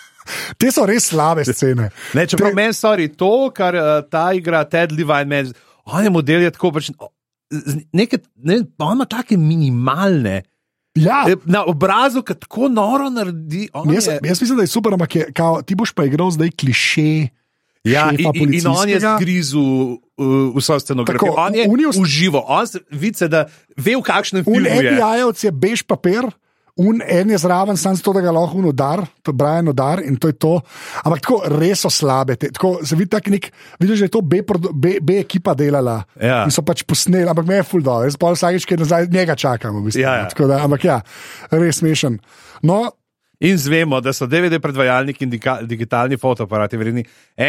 Te so res slabe scene.
Ne, čeprav meni stvari to, kar uh, ta igra, Ted Levine, meni, on je model je tako pač. o, z- Neke, ne, on ima take minimalne,
Ja,
eh, na obrazu, ki tako noro naredi. on
jaz,
je-
jaz mislim, da je super, ampak je, kao, ti boš pa igral zdaj kliše.
ja, in,
šefa
in- in on je
policijskega.
zgrizu uh, vso scenografijo.
Tako,
On je
oni os-
uživo, on se- vidi, se, da ve, v kakšnem
Un
filmu je.
FBI-jevc je bež papir, Un en je zraven, sam zato, da ga lahko unodar, to je Brian Odar in to je to. Ampak tako res so slabe. Te, tako, se vidi, tak nek, vidiš, da je to B, produ- B, B ekipa delala.
Ja.
In so pač posneli, ampak me je full dol, jaz pa vsakeč, ki nazaj njega čakam. V bistvu,
Ja, ja.
Tako Da, ampak ja, res smešen. No,
In zvemo, da so DVD predvajalnik in dika- digitalni fotoaparati vredni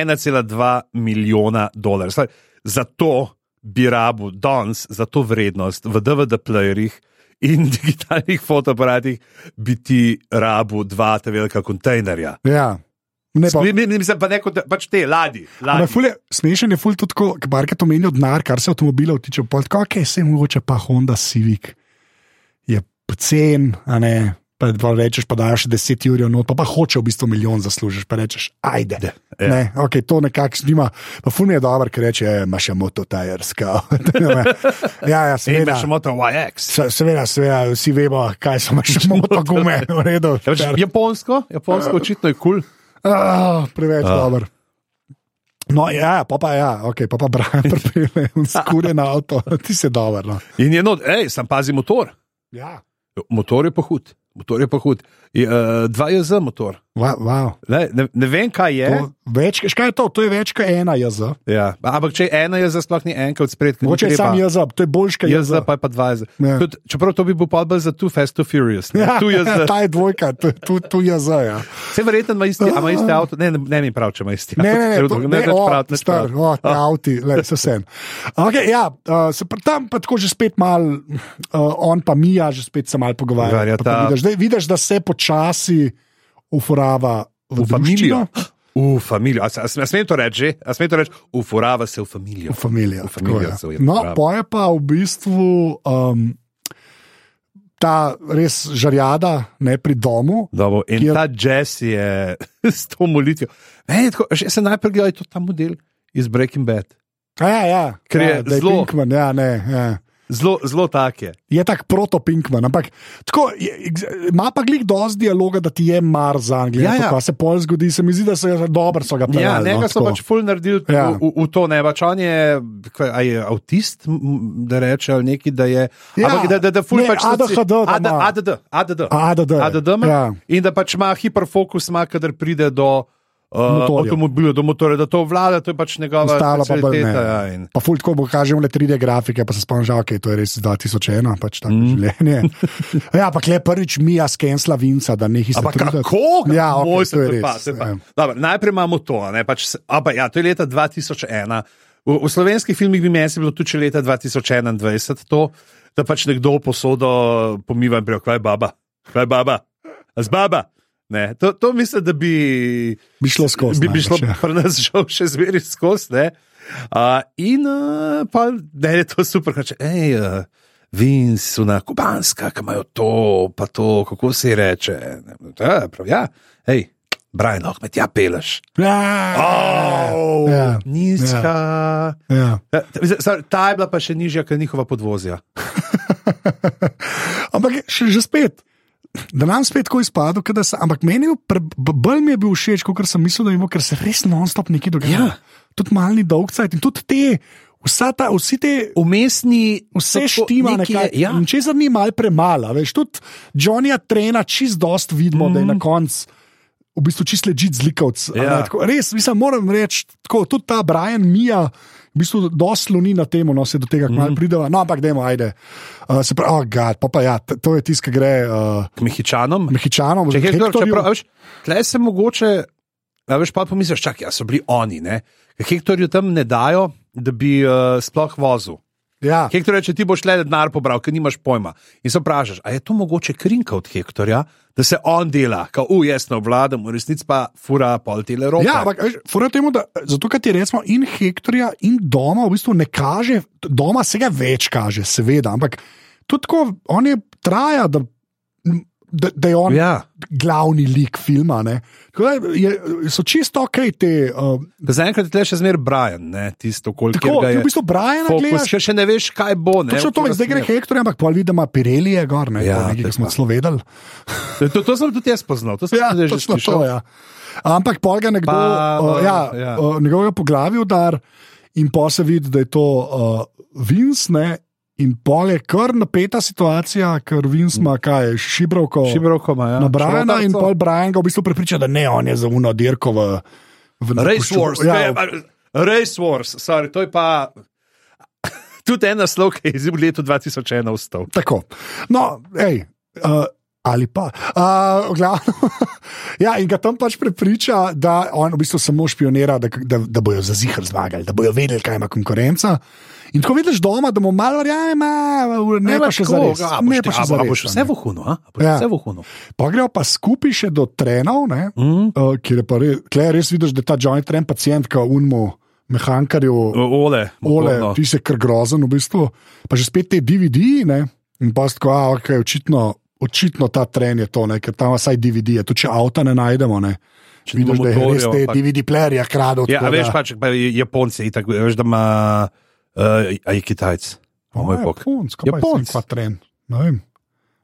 1,2 milijona dolarjev. Zdaj, Zato bi rabu danes za to vrednost v DVD-plejerjih in digitalnih fotoaparatih biti rabu dva ta velika kontejnerja.
ja. Ne, pa,
Mi- mi- Mislim pa ne kot pač te ladi.
Ampak
ladi.
ful je- Smešen je ful tudi, ko barkat omenijo denar, kar se avtomobilov tiče. Pol tako, ok, se mogoče pa Honda Civic. Je pocen, a ne. Pa, pa rečeš, pa daš 10 ur, no, pa, pa hoče v bistvu milijon zaslužiš, pa rečeš, ajde.
Ja.
Ja. Ne, okay, to nekako s njima, pa ful mi je dobro, ker reče, "E, imaš še moto tajerska. ja, ja,
In
seveda.
E, imaš moto YX.
Se- Seveda, seveda, vsi vemo, kaj so imaš moto gume, v redu.
Ja, pač Japonsko, japonsko očitno je kul. Cool.
Ah, preveč ah. dober. No, ja, pa pa, ja, okay, pa, pa Brian pripelje in skure na avto, ti si dober. No.
In je not, hej, sam pazi motor.
Ja,
Motor je pohud, motor je pohud. Je, uh, 2JZ motor.
wow. wow.
Ne, ne, ne vem, kaj je.
To, več, škaj je to? To je več kot ena jaz.
Ja. Ampak če je ena jeza, sploh ni enka od spredka.
Moče je sam jaz, to je boljš kot jaz.
Jaz pa je pa dva jeza.
Ja.
Tud, čeprav to bi bil pa bolj za Too Fast, Too Furious. ne. Tu jaz.
Ta je dvojka, tu- tu- tu jaz. Ja.
Vse verjetno ima isti, a ima isti avto. Ne, ne, ne mi prav, če ima isti
Ne,
avto.
ne, ne,
Ker
to,
drugo-
ne,
več prav,
o,
več
star,
prav. Ah.
o, ta avti, le, se vsem. Okay, ja, uh, se pr, tam pa tako že spet malo, uh, on pa mi, ja, že spet se malo pogovarjamo.
Pogovarjata.
Vidiš, da- vidiš, da se počasi ufurava v,
V familijo.
druščino.
V familijo. A, se- a, smem- a smem to reči že? A smem to reči? Ufurava se v
V
familijo.
familijo.
V familijo
tako je.
se je
no,
prav.
poje pa v bistvu um, ta res žarjada ne, pri domu.
Dobro, in
Kjer-
ta jazz je s to molitvijo. Meni je tako, še se najprej gledaj, to je ta model iz Breaking Bad.
A Ja, ja,
Ker je
ja, da
zelo-
Pinkman, ja, ne, ja.
Zelo, zelo tak je.
Je tak proto-Pinkman, ampak tako, je, ima pa glik dosti dialoga, da ti je mar za Anglijo.
Ja,
Ja,
ja.
ja. Pa se pol zgodi, se mi zdi, da so ga dobro so ga pelali.
Ja,
no,
nekaj so
tako.
pač ful naredili
Ja.
ja. v, v to, ne pač on je, kaj- a je avtist, m, m, da reče ali neki, da je.
Ja,
ampak da, da, da ful
ne,
pač.
ADHD da
AD,
ima.
ADD, ADD.
ADD,
ADD ima, ja.
ja.
In da pač ima hiperfokus, ima, kadar pride do. Uh,
Motorja.
avtomobila, do motorja, da to vlada, to je pač njegova
Ostalo pa bolj ne.
specialiteta, ja, in-
Pa ful tako bo kažemo le 3D grafike, pa se spomnim, da okay, to je res 2001, pač tako mm.
Mhm.
življenje. Ja, pa kle prvič mija skensla vinca, da ne
Ampak
histerija.
kako?
Ja, okay,
Moj,
to je res.
pa, se pa.
ja.
Dobro, najprej imamo to. ne, Pač, opa, ja, to je leta 2001. V, v slovenskih filmih bi meni se bilo tudi če leta 2021 to, da pač nekdo posodo pomiva in pravi, kaj je baba, kaj je baba, A z baba. Ne, to, to mislim, da bi,
Bi šlo skozi,
Bi, bi
najbrž,
šlo
ja.
pri nas žal še zmeraj skozi. ne. Uh, in uh, pa ne, je to super, kače, hej, uh, vinci, una kubanska, ki imajo to, pa to, kako se ji reče. Ja, prav, ja, hej, Brian, lahko me tja peleš.
Ja,
Oh,
Ja,
nizka.
ja.
Ja, ta- Ta je bila pa še nižja, ker njihova podvozja.
Ampak še, že spet. Da nam spet tako izpade, da se, ampak meni je pre- b- bolj mi je bil všeč, kot sem mislil, da je bilo, ker se res non-stop nekaj dogaja.
Ja.
Tudi malni dolgcajt in tudi te, vsa ta, vsi te.
Umestni,
Vse štima, nekaj,
Ja,
česar ni malo premalo. Veš, tudi Johnnyja trena čist dost vidimo, mm. da je na koncu v bistvu čist ležit zlikovc. a
Mhm. Ja.
ne, tako. Res, mislim, moram reči, tako, tudi ta Brian Mija. V bistvu dosloni na temo, no se do tega
Mhm.
mm. prideva, no ampak dajmo, ajde. Uh, se pravi, oh, gad, pa, pa ja, t- to je tisto, ki gre uh,
k Mehičanom.
Mehičanom,
Če je kdo, če
Hektorju.
prav, a veš, tle se mogoče, a veš, pa pomisliš, čak, ja, so bili oni, ne? Ker Hektorju tam ne dajo, da bi uh, sploh vozil.
Ja,
Hektor reče, ti boš le denar pobral, ker nimaš pojma. In se vprašaš, a je to mogoče krinka od Hektorja, da se on dela, kao, u, jaz ne obvladam, v resnici pa fura pol tele roke.
Ja, ampak veš, fora je v temu, da zato, ker ti recimo in Hektorja, in doma v bistvu ne kaže, doma se ga več kaže, seveda, ampak tudi tako on je traja, da, da, da je on ja.
Ja,
glavni lik filma. ne. Tako da je, so čisto ok te. Uh,
da zaenkrat je tle še zmer Brian, ne, tisto, koliko
tako, ti
je.
v bistvu Brian
Fokus,
gledaš.
ker še ne veš, kaj bo. Ne,
Točno
v katero
to, zdaj gre
smer.
Hektor, ampak pol vidi, da ima Pirelije gor, ne,
Ja,
ja,
to je
nekaj, ki smo
pa.
celo vedeli.
To, to sem tudi jaz poznal, to sem
Ja,
tudi že
točno
slišal.
to, ja. Ampak pol ga nekdo,
Pa,
pa, uh, ja,
ja.
ja. Uh, njegovega poglavja udar in pa se vidi, da je to uh, eh, Vince. Ne, In pol je kar napeta situacija, ker Vince ima kaj, šibrovko,
Šibrovko ima, ja.
na Briana in
Šrotarco.
pol Brian ga v bistvu prepriča, da ne, on je za uno dirko v, v na
Race
pušču-
Wars,
Ja,
ja. Race Wars, sorry, to je pa. Tudi en naslov, ki je iz leta 2001 vstal.
Tako. No, ej, uh, ali pa. Uh, glavno, ja, in ga tam pač prepriča, da on v bistvu samo špionira, da, da, da bojo za zihar zmagali, da bojo vedeli, kaj ima konkurenca. In ko vidiš doma, da mu malo verjame, ne pa še za res. Ne pa še za
Boš
res.
vse v hunu, a? A boš
Ja.
vse v hunu.
Pa grejo pa skupaj še do trenov, ne,
Mm.
uh, kjer je pa res, tukaj res vidiš, da je ta joint tren pacijentka unmo, mehankarju.
Ole,
Ole,
motorno.
ti si kar grozen, v bistvu. Pa že spet te DVD, ne? in pa si tako, a, okay, očitno, očitno ta tren je to, ne? ker tam vsaj DVD je, tudi če avta ne najdemo. Ne?
Če nima
Vidiš, da je res
motorjev,
te
ampak-
DVD plejerje kradel.
Ja, a
tako
veš
da-
pač, pa Japonci, itak, veš, da ima. Uh, a je Kitajc, o moj
A,
bog.
Japonsko, Japonc.
Japonc.
pa je tren. Ne vem.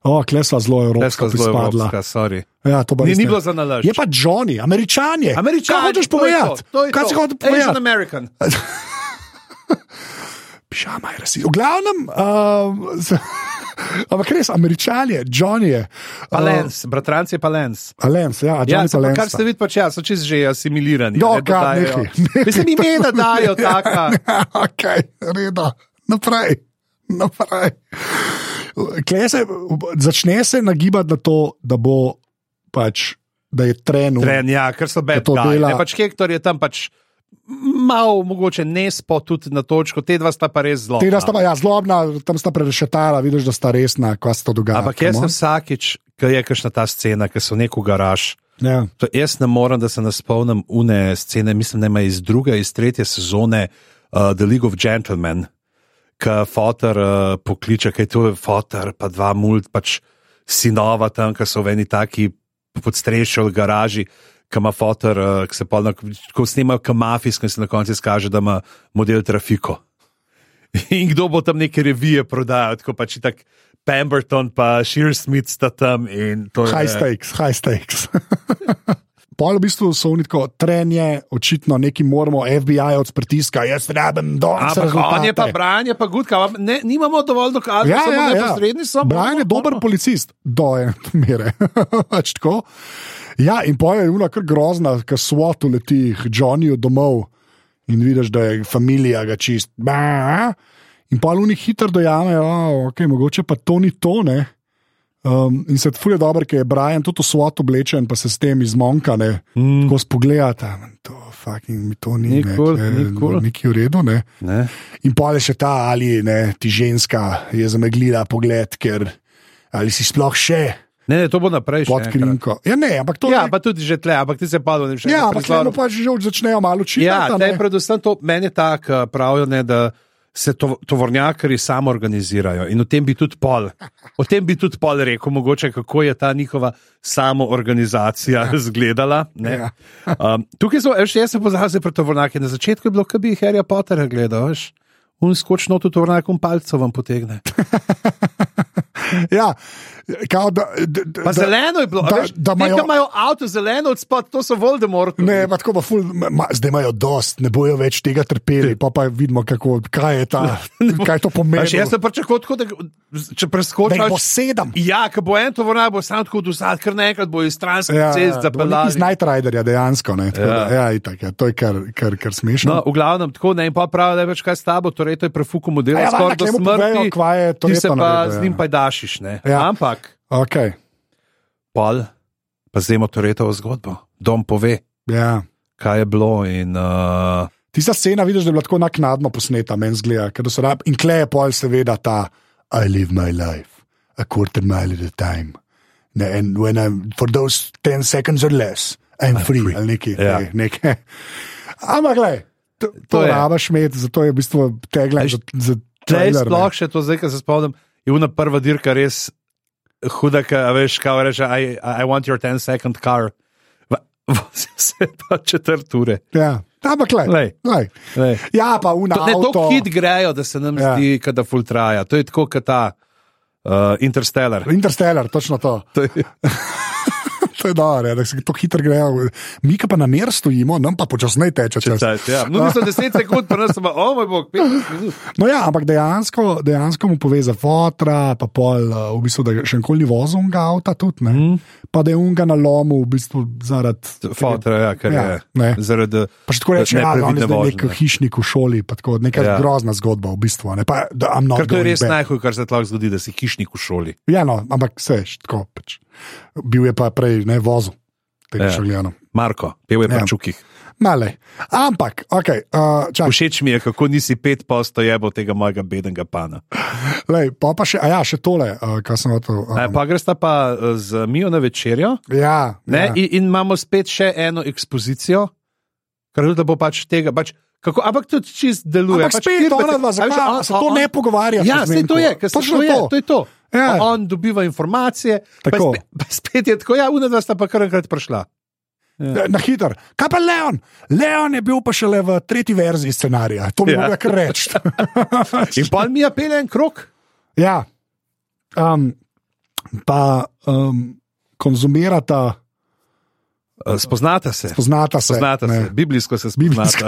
O, klesla zelo evropska,
Težko zelo
prispadla.
evropska, sorry.
Ja, to pa res
Ni, ni
ne.
bilo za nalaž.
Je pa Johnny, američan je.
Američan,
Kaj hočeš
to je
povedati?
to, to je
Kaj
to.
si hočeš
Asian
povedati?
American.
Pižama je rasizem. V glavnem, uh, z, ampak res, američan je, Johnny je.
Pa
Uh,
Lens, bratranci je pa Lens.
Alens, ja,
Ja,
Johnny
saj pa
Palens.
kar ste videli, pač ja, so čez že asimilirani.
No,
ne,
ga,
dodajajo.
nehaj, nehaj.
Mislim, imena dajo taka.
ok, reda, naprej. naprej. Kle Se, začne se nagibati na to, da bo pač, da je trenutno.
Tren, ja, ker so bad
to
guy.
dela-
Ne, pač Hektor je tam pač malo mogoče nespo tudi na točko, te dva sta pa res zelo.
Tega sta pa, ja, zlobna, tam sta prerešetala, vidiš, da sta resna, kaj se to dogaja.
Ampak jaz
come on.
sem vsakič, ko je kakšna ta scena, ki so neko garaž.
Ja.
To jaz ne morem, da se ne spomnim une scene, mislim, da ima iz druge, iz tretje sezone uh, The League of Gentlemen, ki fotor uh, pokliče, kaj to je fotor, pa dva mult, pač sinova tam, ki so v eni taki podstrešju ali garaži. Ki ima fotor, eh, ki se polno, ko snemajo, ki mafijsko in se na koncu izkaže, da ima model trafiko. In kdo bo tam neke revije prodajal, tako pač tako Pemberton, pa Shearsmith sta tam in to je.
High stakes, high stakes. Pol v bistvu so oni tako, trenje, očitno neki moramo, FBI od pritiska, jaz rabim, da se
Ampak on je pa branje, pa gutka, vam ne, nimamo dovolj dokazov,
Ja, ja,
da smo
ja.
neposredni. samo-
Brian je dober policist, do ene mere. pač tako. ja, in poje je ura kar grozna, ker SWAT uleti k Johnnyju domov in vidiš, da je familija ga čist. Ba, in pa luni hitro dojamejo, da okay, mogoče pa to ni tone. Um, in se tfuje dobro, ker je Brian tudi v SWAT oblečen, pa se s tem izmonkane, mm. ko spogledata. To, fucking, mi to ni,
Nikoli,
ne, tle,
nikoli.
Nekaj v redu, ne.
Ne.
In pole še ta ali ne, ti ženska je zameglila pogled, ker ali si sploh še
Ne, ne, to bo naprej še.
pod
enkrat.
krinko. Ja, ne, ampak to
Ja,
je.
pa tudi že tle, ampak ti se padlo, ne še.
Ja,
enkrat
ampak
prizor.
tam pač že začnejo malo učiti.
Ja, ne, predvsem to meni je tako, eh, pravijo, ne, da se to, tovornjakari samo organizirajo in o tem bi tudi pol. O tem bi tudi pol rekel, mogoče kako je ta njihova samoorganizacija izgledala.
Ja.
Ja. Um, tukaj so, veš, jaz sem pozabil zdaj pred tovornjaki. Na začetku je bilo, kot bi Harry Potter gledal, veš. Un skočno to tovornjakom palcev vam potegne.
ja, kao, da, da, da,
Pa zeleno je bilo,
da-
da, veš,
da
da
imajo-
imajo... imajo avto zeleno od spod, to so Voldemort.
Ne, pa tako pa ful, ma, zdaj imajo dost, ne bojo več tega trpeli, pa pa vidimo, kako, kaj je ta, kaj to pomeni.
Veš, No. Pač jaz sem pričakoval, tako, da če
da
preskočim.
jih bo sedem.
Ja, ki bo en tovornjak, bo sam tako dozad, ker naenkrat bo iz stranskih
Ja,
ja, cest
da bo nekaj
zapeljal.
iz Night Riderja dejansko. Ne, tako, ja.
Ja.
Da, ja, itak, ja, to je kar, kar, kar smešno.
No, v glavnem, tako ne, in pa pravi, da je več kaj s tabo, torej to je prefuku model,
A ja, valjda,
skoraj do
tule mu povejo,
smrti,
kva je
ti se
Toretto
pa
naredil, ja.
z njim pa dašiš, ne.
Ja.
Ja. Ampak,
Okay.
pol, pa zdajmo Toretovo zgodbo. Dom pove,
Ja.
kaj je bilo in uh,
Tista scena, vidiš, da je bila tako naknadno posneta, meni zgleda, ker so rab. In klej je pol, seveda, ta I live my life, a quarter mile at a time. Ne, and when I'm for those 10 seconds or less, I'm, I'm free, free. ali nekaj.
Ja.
ne, nekaj. Ampak, gled, to, to, to
To je.
rabaš imeti, zato je v bistvu tegla
Ej,
za, za
tlej
trailer, ne.
sploh še to zdaj, ki se spomnim, je una prva dirka res huda, ki veš, kaj reče, I, I want your 10 second car. Va- Vozil se pa četrt ure.
Ja. Ampak,
Glej.
glej, glej.
Glej.
Ja, pa v
To, ne,
naravni.
to hit grejo, da se nam
Ja.
ja. zdi, da full traja. To je tako, kot ta uh, Interstellar.
Interstellar, točno to.
To je,
to je dobro, ja, da se to hitro grejo. Mi pa na mer stojimo, nam pa počasneje teče čas.
Cajt, ja. No, mislim, 10 sekund, pa nas ima, o moj bog, 15 minut.
No ja, ampak dejansko, dejansko mu pove za fotra, pa pol, eh, v bistvu, da je še nikoli vozil unga avta tudi, ne?
Mhm.
Mm. Pa da je unga na lomu v bistvu zaradi.
Fotra, ja, ker
Ja,
je
ne.
zaradi
Pa še tako reče, da je
neprevidne
zdaj nek
vožnje.
hišnik v šoli, pa tako neka ja.
Ja.
grozna zgodba v bistvu. a Ne? Pa, da, I'm not
Ker to je
going
res
back.
najhujše, kar se lahko zgodi, da si hišnik v šoli.
Ja, no, ampak seš, tako pač. Bil je pa prej ne vozil, tega
Ja.
še gledano.
Marko, pev je pri
Ja.
čukih.
Male. Ampak, ok, uh, čakaj,
Všeč mi je, kako nisi pet posto jebo tega mojega bedenga pana.
lej, pa, pa še, a ja, še tole, uh, kar sem hotel. Um,
E, pa greš ta pa eh, z Mijo na večerjo
ja, ja.
ne, in, in imamo spet še eno ekspozicijo, kar tudi, da bo pač tega. Pač, kako, ampak tudi čist deluje.
Ampak
pač
spet
firme-
ona dva,
a veš,
zakaj
on-
se to
on-
ne pogovarja s
Ja,
Zdenko?
sej to je, ker se
Točno
to je,
to.
to je to.
Ja.
Ja. On dobiva informacije, pa
Tako.
spet, pa spet je tako, ja, unadva sta pa kar enkrat prišla.
Na hitro. Kaj pa Leon? Leon je bil pa šele v tretji verziji scenarija, to bi ja.
Ja.
lahko rekel.
In pa mi je pele en krok.
ja. Um, pa um, konzumirata,
Eh, Spoznata se.
poznata se.
Spoznata
ne.
se, biblijsko se
Biblijska.
spoznata.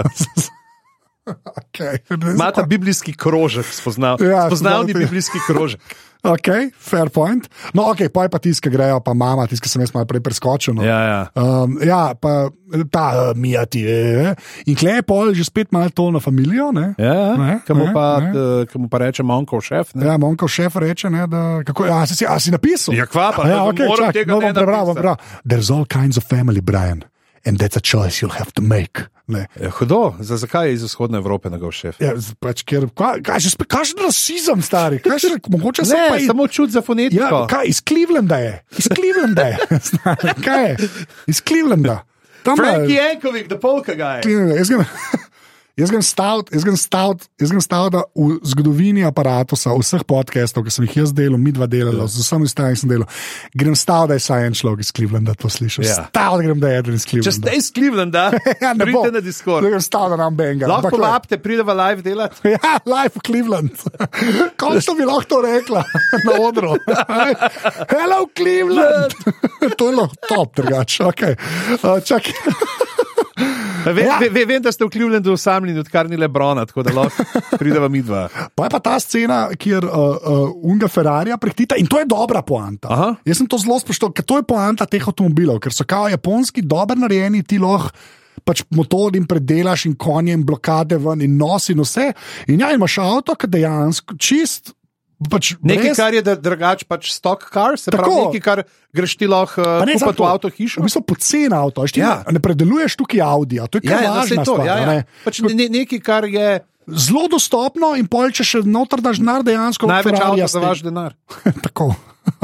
okay.
Imata biblijski krožek, spoznal,
Ja,
ja, spoznavni
spoznavni.
biblijski krožek.
ok, fair point. No, ok, pa je pa tiskaj grejo, pa mama, tiskaj sem jaz malo prej preskočil. No.
Ja, ja.
Um, ja, pa ta uh, mijati. Eh, eh. in klej je pol že spet malo to na familijo. Ne? Ne,
Ja, ki mu
ne,
pa,
ne.
eh, ke mu pa reče Monkov šef. Ne?
Ja, Monko šef reče, ne, da kako, a, si, si- a si napisal.
Ja, kva pa,
A ja,
ne,
okay,
moram
čak,
tega
no,
ne
bom prebral, bom
napisati.
prebral. There's all kinds of family, Brian, and that's a choice you'll have to make. Ne.
Ja, hudo, za, zakaj je iz vzhodne Evrope njegov šef?
Ja, z- pač, ker, kaj, kaj, še spet- kakšen rasizem, stari, kaj še, mogoče se pa
Ne,
iz-
samo čut za fonetiko.
Ja, kaj, iz Clevelanda je, iz Clevelanda je, stari, kaj je, iz Clevelanda. Tam
Frank Jankovic, the polka guy.
Cleveland, jaz grem- Jaz grem staviti, jaz grem staviti, jaz grem staviti v zgodovini aparata, vseh podcastov, ki sem jih jaz delal, mi dva delala,
Ja.
z vsemi ostalimi sem delal. Grem staviti, da je saj en človek iz Clevelanda to slišal.
Ja.
Ja. Staviti grem, da je eden iz
Če
Clevelanda.
ste iz Clevelanda, ja,
ne bom.
pridite na Discord.
Grem staviti, da nam benga.
Lahko
Ampak, le,
lapte, prideva live delati.
Ja, live v Cleveland. Končno bi lahko to rekla na odru. Hello, Cleveland. to je lahko top, drugače. Okay. Uh, čakaj.
Ve,
Ja.
ve, ve, vem, da ste v Clevelandu osamljeni, odkar ni Lebrona, tako da lahko prideva midva.
Pa je pa ta scena, kjer uh, uh, Unga Ferrarija prehtita in to je dobra poanta.
Aha.
Jaz sem to zelo spoštoval, ker to je poanta teh avtomobilov, ker so kao japonski dobro narejeni, ti lahko pač motor jim predelaš in konje in blokade ven in nosi in vse. In ja, imaš avto, ki dejansko čist. Pač
Nekaj,
brez-
kar je dr- drugače, pač stock car, se pravi,
Tako.
nekaj, kar greš ti lahko
Pa ne
uh,
samo
v avto hišo.
V bistvu pocen avto, veš, ti
Ja.
ja. ne predeluješ tukaj Audija, to je
Ja,
kar
ja, no, saj
važna
to,
stvar.
ja,
a
ja.
ne.
Pač ne, ne- nekaj, kar je
Zelo dostopno in pol, če še noter daš denar, dejansko
največ
Ferrarija
avto za vaš denar.
stegneš. Tako,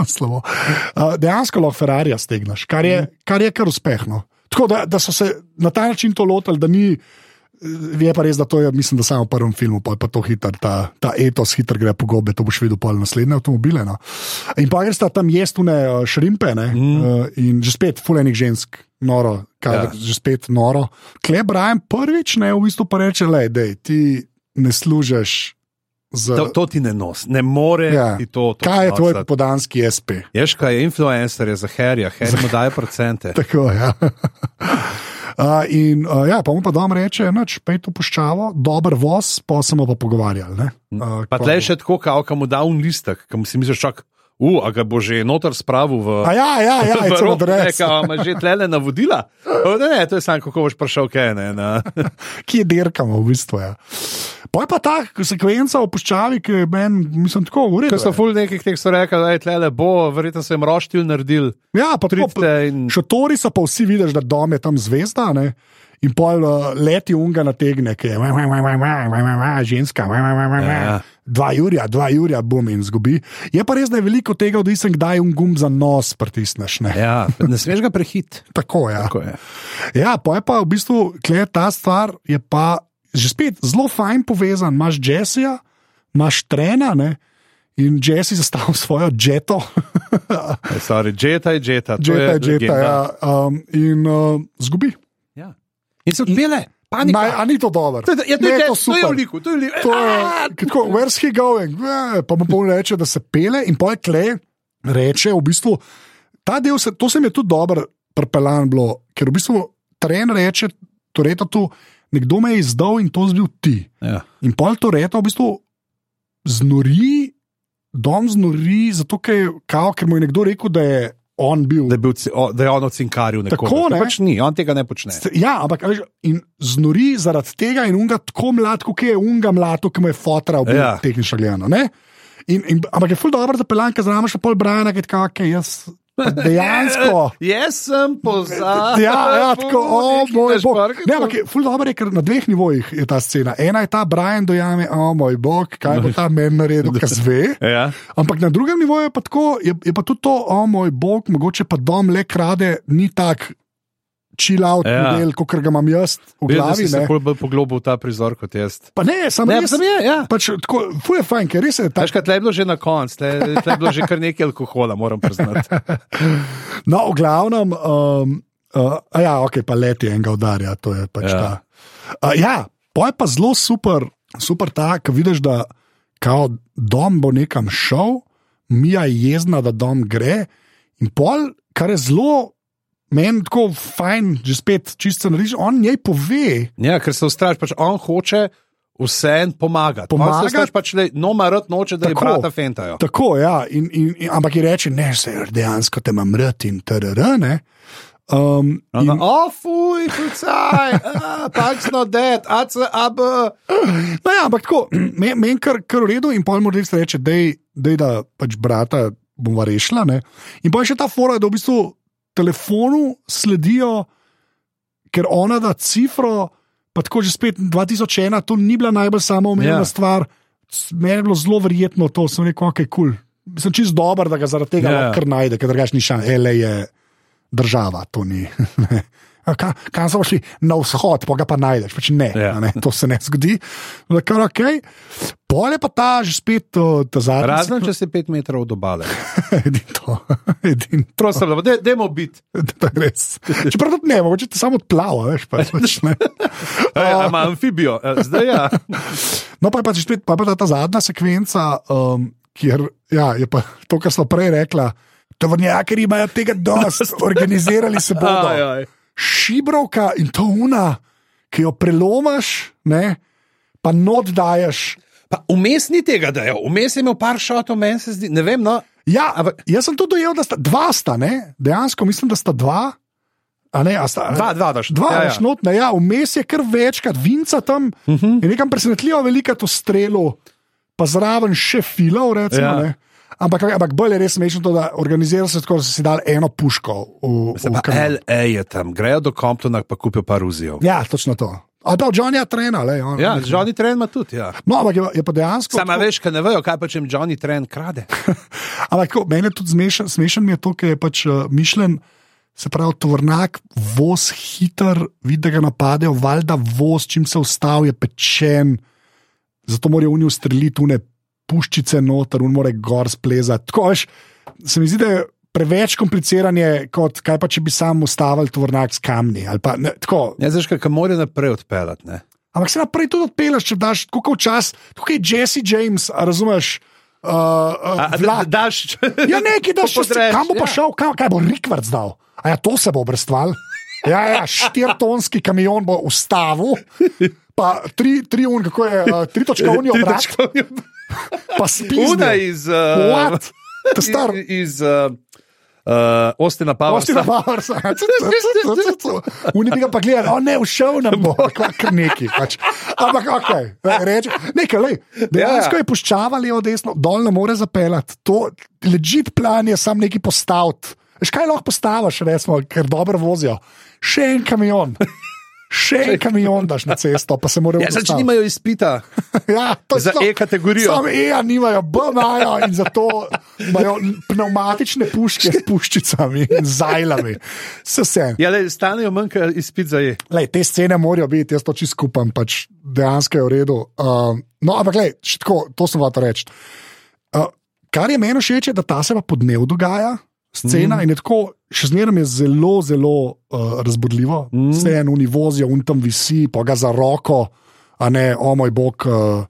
slabo. Uh, dejansko lahko Ferrarija stegneš, kar
Mhm.
je, kar je kar uspehno. Tako da, da so se na ta način to lotili, da ni. eh, Je pa res, da to je, mislim, da samo v prvem filmu, pa je pa to hitro, ta, ta etos hitro gre po gobe, to boš videl pol naslednje avtomobile. No. In pa res ta tam jestune eh, šrimpe ne, mm. uh, in že spet fulejnih žensk, noro,
Mhm. Ja.
kaj, ja. že spet noro. Klej Brian prvič ne, v bistvu pa reče, da ti ne služiš za
To, to ti ne nos, ne more
Ja.
ja. ti to. to
Kaj je tvoj
nositi.
podanski SP?
Veš, kaj je influencer, je za herja, herja mu daje procente.
Tako, ja. Uh, in uh, ja, pa mu pa dom reče, noč pej to puščavo, dober voz, pa se bomo pa pogovarjali. ne." Uh,
Pa
ko-
tlej še tako, kao, kam mu da un listek, kam si misliš, čak, u, a ga bo že noter spravil v.
A ja, ja, ja,
v
je celo
rop, ne,
dres.
kao, ima že tlele navodila. O, Ne, ne, to je samo kako boš prišel, kaj ne. Na.
ki je dirkamo v bistvu. Ja. Pa je pa ta sekvenca o puščavi, ki je meni, mislim, tako ja.
Ker so
uredna.
ful nekih teh so rekli, da je tlele bo, verjetno so jim roštil naredil.
Ja, pa tako,
Pridite in-
šotori so pa vsi vidiš, da dom je tam zvezda. Ne? In pol uh, leti unga nategne, ki je "Wa, wa, wa, wa, wa, wa, wa, wa, ženska, wa, wa, wa, wa, wa."
Ja.
dva Jurija, dva Jurija bom in zgubi. Je pa res, da je veliko tega odvisen, kdaj un gum za nos pritisneš. Ne?
Ja, ne smeš ga prehit.
Tako je. Ja.
Tako je.
Ja, pa je pa v bistvu kle, ta stvar, je pa že spet zelo fajn povezan. Imáš Jessija, imaš trena ne? in Jessi zastavil svojo jeto.
Ej, Sorry, džeta je džeta. to
Jeta je jeta,
legenda.
ja, um, in uh, zgubi.
ja. In se odpele, panika.
Naj, a ni to dobro?
To je- ja, to
Ne,
je-
to
to je
super.
v liku, to je v liku.
To je,
A,
tako, where's he going? Eh, Pa mu polno reče, da se pele in poje kle, reče v bistvu. Ta del se, to se mi je tudi dobro prepeljan bilo, ker v bistvu teren reče, torej to, nekdo me je izdal in to zbil ti.
Ja.
In pol to reto v bistvu znori, dom znori, zato ker, kao, ker mu je nekdo rekel, da je on bil.
Da, je bil, ci- o, da je on ocinkaril nekoga.
Tako,
To
ne.
Pač ni, on tega ne počne.
St- Ja, ampak a veš, in znori zaradi tega in unga tako mlad, kot je unga mlad, ki mu je fotografiral, bil
Ja.
ja. tehnično gledano. ne. In, in, ampak je ful dobro zapeljan, ker znamo še pol Brajana, ki je tako, ok, jaz pa dejansko.
Jaz sem pozabil.
Ja, ja, tako, o moj bog. Ne, ampak
ampak...
je ful dobro, je, ker na dveh nivojih je ta scena. Ena je ta Brian dojame, o moj bog, kaj
No.
bo ta meni naredil, kaj zve.
Ja.
Ampak na drugem nivoju je pa tako, je, je pa tudi to, o moj bog, mogoče pa dom le krade, ni tak chill out
Ja.
ja. model, kot ga imam jaz v
Vidim, da
glavi.
si se
Ne.
bolj bolj poglobil v ta prizor kot jaz.
Pa ne, samo
Ne,
res,
sem je, ja.
pač, tako, fuje fajn, ker res je ta
Veš, kaj tle je bilo že na koncu, tle, tle je bilo že kar nekaj alkohola, moram priznati.
No, v glavnem, um, uh, a ja, ok, pa leti enega udarja, to je pač
Ja.
ja. ta. Uh, ja, pa je pa zelo super, super ta, ki vidiš, da kao dom bo nekam šel, mija je jezna, da dom gre. In pol, kar je zelo, meni tako fajn, že spet čisto nariš, on njej pove.
Ja, ker se ustraš, pač on hoče vsem pomagati. On se
Pomagati?
ustraš, pač le, no, marat noče, da je
Tako.
brata fentajo.
Tako, ja, in, in, in, ampak ji reče, ne, se dejansko te imam rad in trr, ne. Um,
In... O, fuj, pucaj, pač no, det, ac, ab.
No, ja, ampak tako, meni men kar, kar v redu in pol morda se reče, dej, dej, da pač brata bomo rešila. Ne? In pa je še ta fora, da v bistvu telefonu sledijo, ker ona da cifro, pa tako že spet 2001, to ni bila najbolj samoumevna
Ja.
yeah. stvar. S- Meni je bilo zelo verjetno to, sem rekel, ok, kul. Cool. Sem čist dober, da ga zaradi tega
Ja.
yeah. kar najde, ker drugač ni šan, ele je država, to ni. A ka- Kam so šli na vzhod, pa ga pa najdeš, pač ne,
Ja.
yeah. ne, to se ne zgodi. Da, Kar ok. Pole pa ta že spet, uh, ta zadnji.
Razen, če si pet metrov od obale.
edin to, edin
Prosim, lepo, de- dajmo biti.
to je res. Čeprav tudi ne, mogoče te samo odplava, veš, pa pač ne.
Ja, ima amfibijo, Eh, zdaj ja.
No, pa je pač spet pa je pa ta- ta zadnja sekvenca, um, kjer ja, je pa to, kar smo prej rekla. Tovrnjaki imajo tega dost, organizirali se bodo.
Aj, aj.
Šibrovka in to una, ki jo prelomaš, ne, pa not daješ.
Pa vmes ni tega, da je, vmes je imel par šotov, meni se zdi, ne vem, no.
Ja, ampak jaz sem tudi dojel, da sta dva, sta, ne? dejansko mislim, da sta dva. A ne, a sta,
Dva, dva daš.
Dva
Ja, ja.
ja, šnotna, ja, vmes je kar večkrat vinca tam uh -huh.
Mhm.
in nekam presenetljivo veliko to strelo, pa zraven še filov. Recimo,
Ja.
ja. Ampak, ampak bolj je res smešno, to, da organizirajo se tako, da so si dal eno puško v,
Se
v
pa
kamen.
LA je tam, grejo do Comptona, pa kupijo par uzijev.
Ja, točno to. A da, Johnny Trena, le. On,
Ja, Johnny Tren ima tudi, ja.
No, ampak je, pa- je pa dejansko.
Sama veš, kaj ne vejo, kaj pa če jim Johnny Tren krade.
Ampak tako, meni je tudi zmešan, smešen mi je to, ker je pač uh, mišljen, se pravi, tovrnak, voz hiter, vidi, da ga napadejo, valjda voz, čim se ustavi, je pečen, zato morajo unijo streljiti, une puščice noter, un more gor splezati. Tako veš, se mi zdi, da je. Preveč kompliciranje, kot kaj pa če bi sam ustavil tovrnak s kamni. ali Pa, ne, tako,
Ne znaš, kaj more naprej odpeljati. ne.
Ampak se naprej tudi odpeleš, če daš tako kot čas, tako kot Jesse James, a razumeš? Uh,
A-
uh,
a
vlak.
da- Daš,
Ja, nekaj daš, če se
Popodreš,
kam bo
ja.
pa šel, kam, kaj bo Rikvard zdal. A ja, to se bo obrestval. Ja, ja, štirtonski kamion bo ustavil, pa tri, tri un, kako je, uh, tri točka unijo,
Tri
brat,
točke unijo.
pa spijo.
Una iz. Uh,
What? Ta star.
iz- Iz. Uh, uh, Ostina Powersa.
Ostina Powersa. Oni bi ga pa gledali, o ne, ušel nam bo, kar neki. Pač. Ampak ok, reče, nekaj, lej, dejansko
Ja, ja.
je puščava levo, desno, dol ne more zapeljati. To ležit plan je sam neki postaviti. Veš, kaj lahko postaviš, recimo, ker dobro vozijo. Še en kamion. Še en kamion daš na cesto, pa se mora
Ja, zdaj, če
ustaviti.
nimajo izpita.
Ja, to je
Za
to.
E kategorijo.
Sam E-ja nimajo, B imajo in zato imajo pneumatične puške s puščicami in zajlami. Se vse.
Ja, le, stanejo manj, kot izpit za je.
Lej, te scene morajo biti, jaz to čisto skupam, pač dejansko je v redu. Um, no, ampak lej, še tako, to sem vam reči. Uh, kar je meni všeč, je, da ta se pa po dnevu dogaja, scena mm. in je tako, še zmeraj je zelo, zelo uh, razburljivo. Mm. Vse en oni vozijo, un tam visi, pa ga za roko, a ne, o moj bog, uh,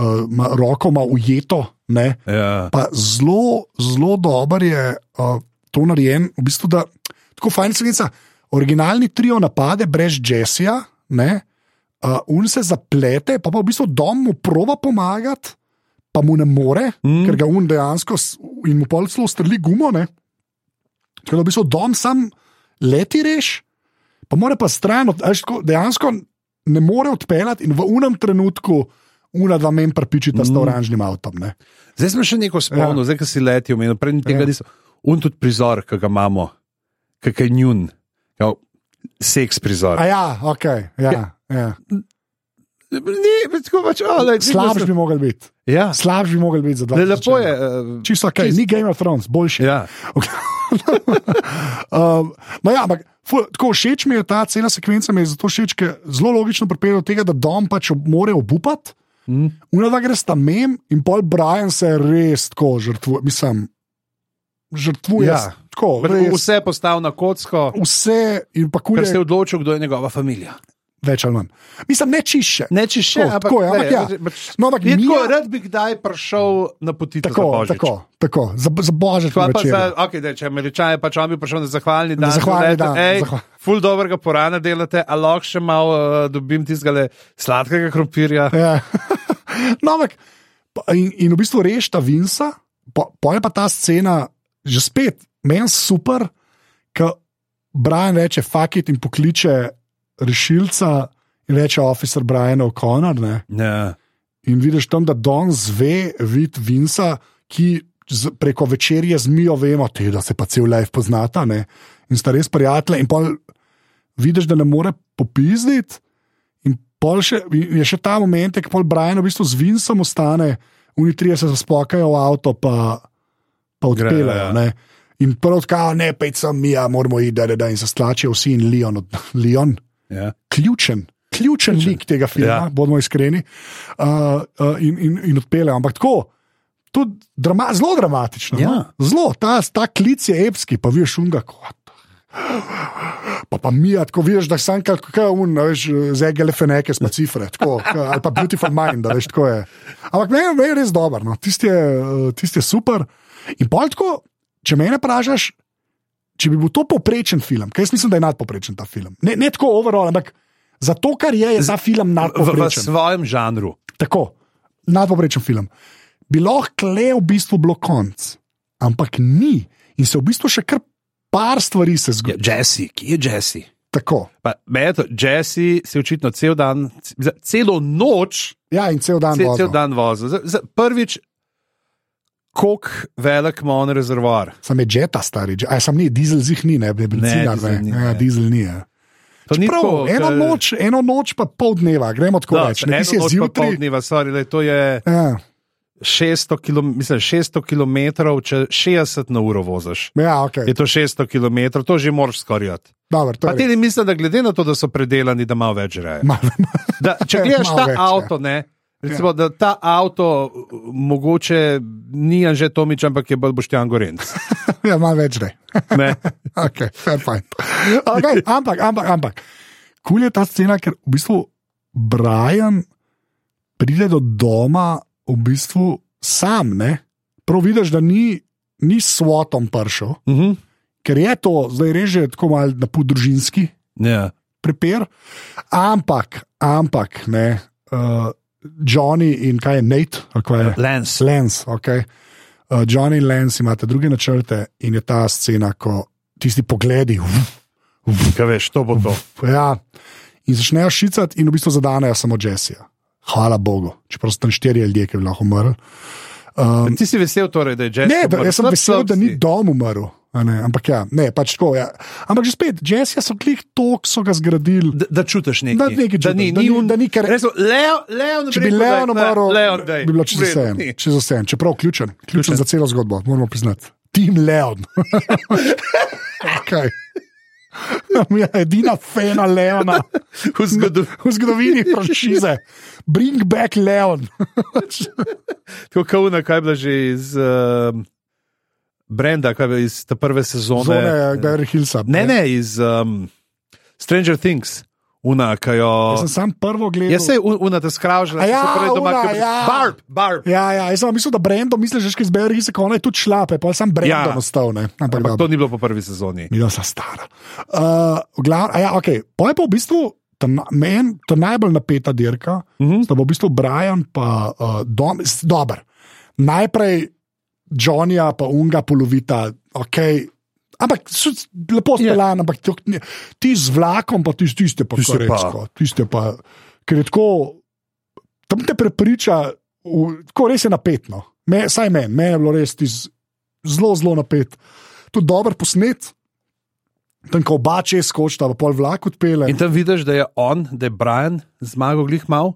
uh, ma, roko ima ujeto. Ne,
Ja.
Pa zelo, zelo dober je uh, to narejen, v bistvu, da tako fajn svinca. Originalni trio napade brez Jessija, ne, uh, un se zaplete, pa pa v bistvu dom mu prova pomagati, pa mu ne more,
Mhm.
mm. ker ga un dejansko s- in mu pol celo strli gumo. Ne. Tako da v bistvu dom sam leti reš, pa mora pa stran, od- a veš, tako, dejansko ne more odpeljati in v unem trenutku. Una dva men prpičita mm. s tem oranžnim avtom. Ne?
Zdaj smo še neko spomnili, ja. zdaj, ki si leti omenil, prej
Ja.
tega ja. nisem. Un tudi prizor, ki ga imamo, kak je njun, ja, seks prizor.
A ja, ok. Ja, ja.
Ni, tako pač, ali
Slabš bi mogel biti.
Ja,
Slabš bi mogel biti za dva.
le, lepo je. eh,
Čisto ok, ni Game of Thrones, boljši.
Ja.
um, no ja, ampak ful, tako všeč mi je ta cela sekvenca, mi je zato všeč, ker zelo logično pripelje do tega, da Dom pač ob, more obupati. Mm. Unada gre sta mem in pol Brian se res tako žrtvuje, mislim, žrtvuje.
Ja.
Ja. Tako, res,
Vse postavi na kocko,
vse in pa
ker se
kurje,
je odločil, kdo je njegova družina.
več ali manj. Mislim, ne čišče.
Ne, če še,
Tako, tako je, ampak
glej,
ja.
pač-
No, ampak
je tako,
Mija-
rad bi kdaj prišel na poti
Tako, tako, tako, za, za božje
Pa pa
večer.
za, okay, da, če američane, pač on bi prišel na zahvalni dan.
zahvalni dan,
Ej,
zahval-
ful dobrega porana delate, a lahko še malo uh, dobim tistega sladkega krompirja.
Ja. no, ampak, pa- in, in v bistvu rešita Vinsa, po, po je pa ta scena, že spet, meni super, ko Brian reče fakit in pokliče rešilca in reče officer Brian O'Connor. Ne?
Ja.
In vidiš tam, da Don zve vid Vinsa, ki z, preko večerje z Mijo vemo, te, da se pa cel life poznata ne? in sta res prijatelja. In pol vidiš, da ne more popizditi. In pol še, je še ta moment, ki pol Brian v bistvu z Vinsom ostane, unitrije se spokajo v avto, pa, pa
ja.
odpeljajo. ne. In prvo odkajo, ne, pej sem Mija, moramo iti, da, da, da, in se stlačijo vsi in Leon, od, Leon
Ja.
ključen, ključen lik tega filma, ja.
Ja.
bomo iskreni, uh, uh, in, in, in odpeljejo. Ampak tako. Tudi drama, zelo dramatično.
Ja.
No? Zelo, ta, ta klic je epski, pa viš unga kot. Pa pa mi, tako viš, da sem kot un, a veš, zegele feneke, smo cifre, tako, ka- ali pa beautiful mind, a veš, tako je. Ampak meni meni je res dober, no? tisti je, eh, tisti je super. In pol tako, če me vprašaš, če bi bil to poprečen film, ker jaz mislim, da je nadpoprečen ta film. Ne, ne tako overall, ampak za to, kar je, je ta film
V, v
nadpoprečen.
svojem žanru.
Tako, nadpoprečen film. Bi lahko le v bistvu bilo konc, ampak ni in se v bistvu še kar par stvari se
Ja,
zgodi.
Jesse, kje je Jesse?
Tako.
Pa, meni je to, Jesse se je očitno cel dan, c- za- celo noč,
Ja, in cel dan
cel,
vozil.
cel dan vozil. Za- za- Prvič, koliko velik ima on rezervoar.
Sam je žeta stari, dž- a sam ni, dizel zih ni, ne, benzina,
dizel
ne,
ni,
ne, ja,
ne.
dizel ni. Ja.
To ni
Prav,
tako,
eno
ke-
noč, eno noč pa pol dneva, gremo tako
Da,
reči. Ne, ti si
eno noč pa pol
zjutraj.
dneva, sorry, lej, to je
Ja,
600 km, mislim, 600 km, če 60 na uro voziš.
ja ok.
Je to 600 km, to že moraš skorjati.
Dobar, to
Pa
je
ti
res.
ne misliš, da glede na to, da so predelani, da malo več reje.
Malo-
Da, če gledaš
Malo
ta
več,
več,
ja.
avto, ne. Recimo, ja. da ta avto uh, mogoče ni Anže Tomič, ampak je bolj Boštjan Gorenc.
ja, malo več ne.
Ne?
Okay, fair point. Okay, ampak, ampak, ampak. Kul je ta scena, ker v bistvu Brian pride do doma v bistvu sam, ne. Prav vidiš, da ni, ni s svatom pršel,
Uh -huh.
ker je to zdaj reže tako mal na pol družinski
ja.
prepir. Ampak, ampak, ne. Uh, Johnny in kaj je Nate, ali kaj je.
Lens.
Lens, ok. Uh, Johnny in Lens imate druge načrte in je ta scena, ko tisti pogledi, uf,
Kaj veš, to bo to.
ja, in začnejo šicati, in v bistvu zadanejo samo Jessija. Hvala Bogu, čeprav so tam štirje ljudje, ki bi lahko umrli.
Ti si vesel, torej, da je
Um,
Jesse.
Ne, da,
umrl.
jaz sem
Slab,
vesel,
slab
da
si.
ni dom umrl. a Ne, ampak ja, ne, pač tako. Ja. Ampak že spet, Jessija so klik tok, so ga zgradili.
Da, da čutiš nekaj.
Da nekaj čutiš,
ni,
da
ni,
ni-
un-
da ni kar-
Res, Leon, Leon,
Če bi Leon umrl,
Leon, daj.
bi bilo
V
čisto
redu,
vseeno.
ni.
Čisto vseeno, čeprav ključen, ključen, ključen za celo zgodbo, moramo priznati. Tim Leon. okay. Ja, edina fena Leona
V zgodovini.
v zgodovini franšize. Bring back Leon.
Tako kot na kaj je bila že iz uh, Brenda, kaj je bila iz te prve sezone.
ja, Zone Beverly eh, Hillsa.
Ne, ne, iz um, Stranger Things. unakajo.
Jaz sem sam prvo gledal.
Jaz se unate skravžila,
A ja,
ja, se prej doma,
ona,
ki
ja.
barb, barb.
Ja, ja, jaz sem mislil, da Brendo misliš, že iz Belgije se konaj tudi šlape, pa sem Brendo
Ja.
ja. ostal. Ne? Ampak,
Ampak
Ampak
to ni bilo po prvi sezoni.
Mi smo stara. Uh, glav, ja, okay. Pa je pa v bistvu ta, na- men, ta najbolj napeta dirka, uh
Mhm.
-huh. sta pa v bistvu Brian pa uh, Dom, s- dober. Najprej Johnnyja pa Unga polovita, okay. ampak so s- lepo speljan, yeah. ampak to, ni- ti z vlakom pa tisti, tiste pa
Tiste pa-
korejsko, tiste pa, ker je tako, tam te prepriča, v, tako res je napetno. Me, saj meni, meni je bilo res tiz, zelo, zelo napet. Tudi dober posnet, tam ko oba če skočita, pa pol vlak odpele.
In tam vidiš, da je on, da je Brian zmagal glih mal.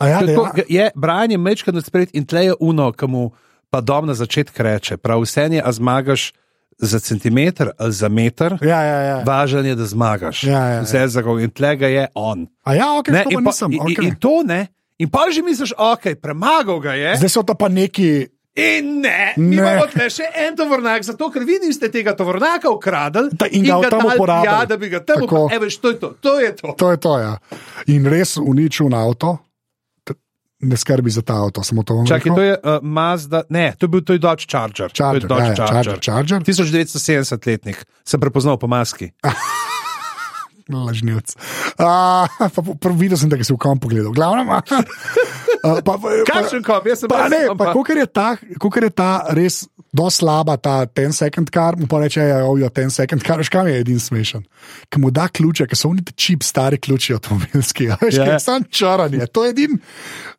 A ja,
Tako,
dejan-
je, Brian je mečkan odspred in tle je uno, ki mu pa dom na začetku reče. Prav vse je, a zmagaš za centimeter ali za meter,
ja, ja, ja.
važno je, da zmagaš.
Ja, ja, ja.
Vse za koga in tle ga je on.
A ja, ok,
Ne,
to pa
in,
nisem.
in,
okej.
in to ne. In pa že misliš, ok, premagal ga je.
Zdaj so ta pa neki.
In ne,
Ne.
ne. imamo tle še en tovornjak, zato ker vi niste tega tovornjaka ukradli
Da, in ga tam
dali-
uporabili.
Ja, da bi ga
Tako.
tam uporabili. Veš, to je to. to, je to.
To je to, ja. In res uničil na avto, T- ne skrbi za ta avto, samo to vam
Čakaj,
rekel.
to je uh, Mazda, ne, to je bil to je Dodge Charger.
Charger,
to je
ja,
Dodge
ja, Charger, Charger.
1970-letnik, sem prepoznal po maski.
No, Lažnivec. Uh, videl sem, da ga si v kom pogledal. Glavno, uh, pa, pa,
Kakšen kop, jaz sem
Pa
res-
ne,
ampak-
pa kolikor je ta, kolikor je ta res do slaba, ta 10 second kar, mu pa reče, "Ja, ojo, 10 second kar, veš, kam je edin smešen. Ki mu da ključe, ker so oni ti čip, stari ključi avtomobilski, a veš,
Ja,
yeah.
ja.
sam čaran je. To je edin,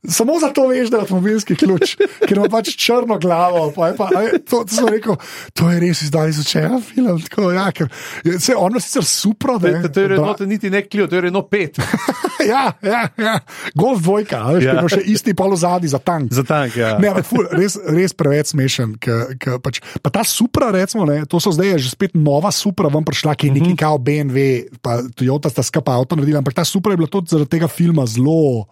samo zato veš, da je avtomobilski ključ, ker ima pač črno glavo. Pa je pa, a je, to, to sem rekel, to je res izdal iz očeja film. Tako, ja, ker, je- se, on je sicer supro,
To
da
je, to je Renault, niti ne Clio, to je Renault 5.
Ja, ja, ja. golf dvojka, a veš,
Ja.
yeah. še isti polo zadnji za tank.
Za tank, ja.
Ne, ampak ful, res, res preveč smešen. K, k, pač, pa ta supra, recimo, ne, to so zdaj že spet nova supra, vam prišla, ki je neki
Mhm.
kao BMW, pa Toyota sta skapa avto naredila, ampak ta supra je bila tudi zaradi tega filma zelo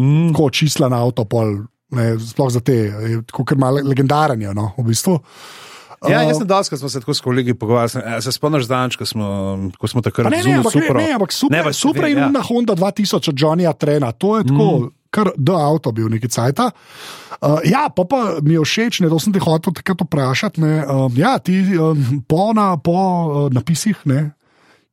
Mm.
tako čisla na avto, pol, ne, sploh za te, je tako ker malo legendaren je, no, v bistvu.
Ja,
Uh,
jaz sem dosti, ko smo se tako s kolegi pogovarjali. sem- a Se spomniš danč, ko smo, ko smo
Pa
takrat
Ne, ne, ampak, ne,
Supro.
ne, ampak super,
Ne,
ne,
pa
super in
ja.
na Honda 2000 od Johnnyja Trena. To je tako, mm. kar da avto bil neki cajt. Uh, ja, pa, pa mi je všeč, ne, to sem ti hotel takrat vprašati. ne, Um, ja, ti um, po, na, po uh, napisih, ne,